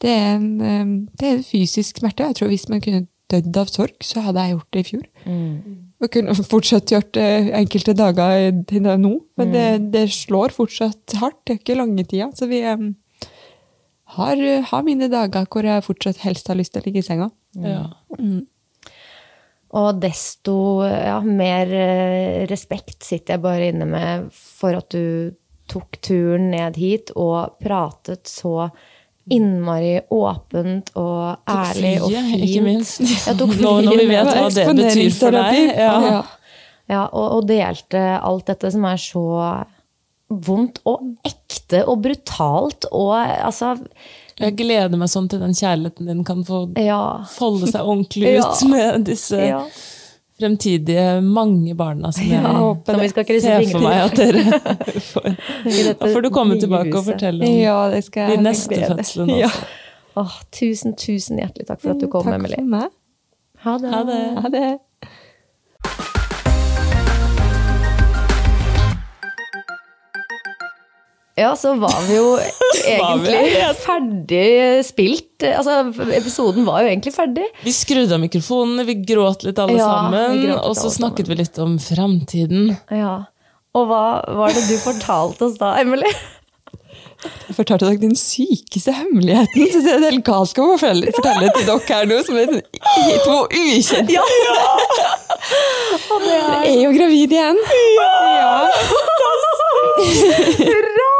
Speaker 4: Det, er en, eh, det er en fysisk smerte. og Jeg tror hvis man kunne dødd av sorg, så hadde jeg gjort det i fjor.
Speaker 3: Mm.
Speaker 4: Og kunne fortsatt gjort det enkelte dager til da nå, men det,
Speaker 5: Mm.
Speaker 4: det slår fortsatt hardt. Det er ikke lange tida, så vi eh, har, har mine dager hvor jeg fortsatt helst har lyst til å ligge i senga.
Speaker 5: Ja.
Speaker 3: Og desto ja, mer eh, respekt sitter jeg bare inne med for at du tok turen ned hit og pratet så innmari åpent og ærlig og
Speaker 5: flyet,
Speaker 3: fint.
Speaker 5: ikke minst.
Speaker 3: Ja, tok
Speaker 5: Nå når vi
Speaker 3: flyet
Speaker 5: vet
Speaker 3: med.
Speaker 5: hva det betyr for deg.
Speaker 4: Eksponeringsterapi.
Speaker 5: Ja.
Speaker 4: Ja.
Speaker 3: Ja, og, og delte alt dette som er så vondt og ekte og brutalt og altså
Speaker 5: Jeg gleder meg sånn til den kjærligheten din kan få
Speaker 3: Ja.
Speaker 5: folde seg ordentlig ut
Speaker 3: Ja.
Speaker 5: med disse
Speaker 3: ja.
Speaker 5: fremtidige mange barna som jeg
Speaker 4: Jeg håper
Speaker 3: Som vi
Speaker 4: det.
Speaker 3: skal krysse
Speaker 5: ser for
Speaker 3: fingrene
Speaker 5: meg at dere får. Da får du komme tilbake og fortelle om
Speaker 4: Ja, det skal jeg
Speaker 5: de neste
Speaker 4: glede.
Speaker 5: fødslene
Speaker 4: Ja.
Speaker 5: også.
Speaker 3: til. Åh, tusen, tusen hjertelig takk for at du kom,
Speaker 4: Mm, Takk
Speaker 3: Emily.
Speaker 4: for meg.
Speaker 3: Ha det.
Speaker 5: Ha det.
Speaker 4: Ha det.
Speaker 3: Ja, så var vi jo egentlig ferdig spilt. Altså, episoden var jo egentlig ferdig.
Speaker 5: Vi skrudde av mikrofonene, vi gråt litt alle
Speaker 3: Ja,
Speaker 5: sammen,
Speaker 3: vi gråt litt
Speaker 5: og så
Speaker 3: alle
Speaker 5: snakket vi litt om framtiden.
Speaker 3: Ja. Og hva var det du fortalte oss da, Emily?
Speaker 4: Jeg fortalte dere den sykeste hemmeligheten. Så det er helt galskap å fortelle, fortelle til dere her nå, som er sånn, i- to ukjente.
Speaker 3: Ja!
Speaker 4: Jeg er jo gravid igjen. Ja. Altså,
Speaker 3: Hurra!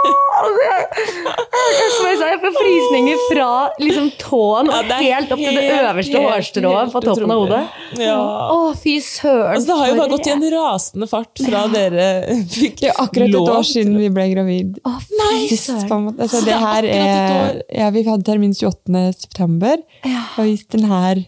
Speaker 3: Som jeg sa, jeg får frysninger fra liksom tåen og helt opp til det øverste hårstrået på toppen av hodet.
Speaker 5: Ja.
Speaker 3: Å, fy søren.
Speaker 5: Altså, det har jo
Speaker 3: for
Speaker 5: bare gått i en rasende fart fra dere fikk
Speaker 4: Det er akkurat et
Speaker 5: lov
Speaker 4: år siden vi ble gravid.
Speaker 3: Å, fy
Speaker 4: Sist, på
Speaker 3: søren.
Speaker 4: en måte. Altså,
Speaker 5: Så
Speaker 4: det
Speaker 5: det er
Speaker 4: her
Speaker 5: akkurat
Speaker 4: er, ja, vi hadde termin 28. september, og hvis den her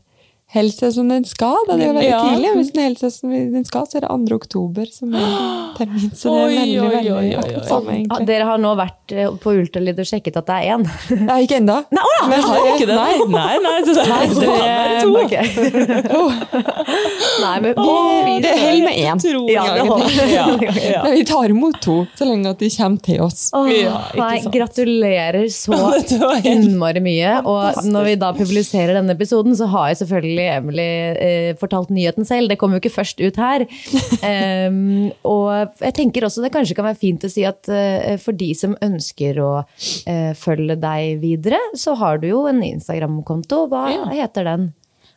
Speaker 4: helst er som den skal, da det er jo veldig
Speaker 5: Ja.
Speaker 4: tidlig, hvis den helst er som den skal, så er det 2. oktober som er termin, så det
Speaker 5: Oi,
Speaker 4: er veldig,
Speaker 5: oi,
Speaker 4: veldig
Speaker 5: oi, oi, oi.
Speaker 4: akkurat samme
Speaker 3: Ah,
Speaker 4: egentlig.
Speaker 3: Dere har nå vært eh, på ultralyd og sjekket at det er én.
Speaker 4: Nei, ikke enda.
Speaker 3: Nei, å ja!
Speaker 4: Men
Speaker 5: Har
Speaker 4: jeg-
Speaker 5: ikke det?
Speaker 4: Nei,
Speaker 5: nei, nei, det, nei, det,
Speaker 3: Ok. Nei, men å, fy
Speaker 4: det er
Speaker 3: søren.
Speaker 4: hell med én.
Speaker 3: Ja, det holder.
Speaker 5: Ja, ja.
Speaker 4: Nei, vi tar imot to, så lenge at de kommer til oss.
Speaker 3: Åh,
Speaker 5: Ja, ikke
Speaker 3: nei,
Speaker 5: sant.
Speaker 3: gratulerer så
Speaker 5: Dette var helt
Speaker 3: innmari mye. Og når vi da publiserer denne episoden, så har jo selvfølgelig Emily eh, fortalt nyheten selv. Det kom jo ikke først ut her. Em, og jeg tenker også det kanskje kan være fint å si at eh, for de som ønsker å eh, følge deg videre, så har du jo en Instagram-konto. Hva heter den?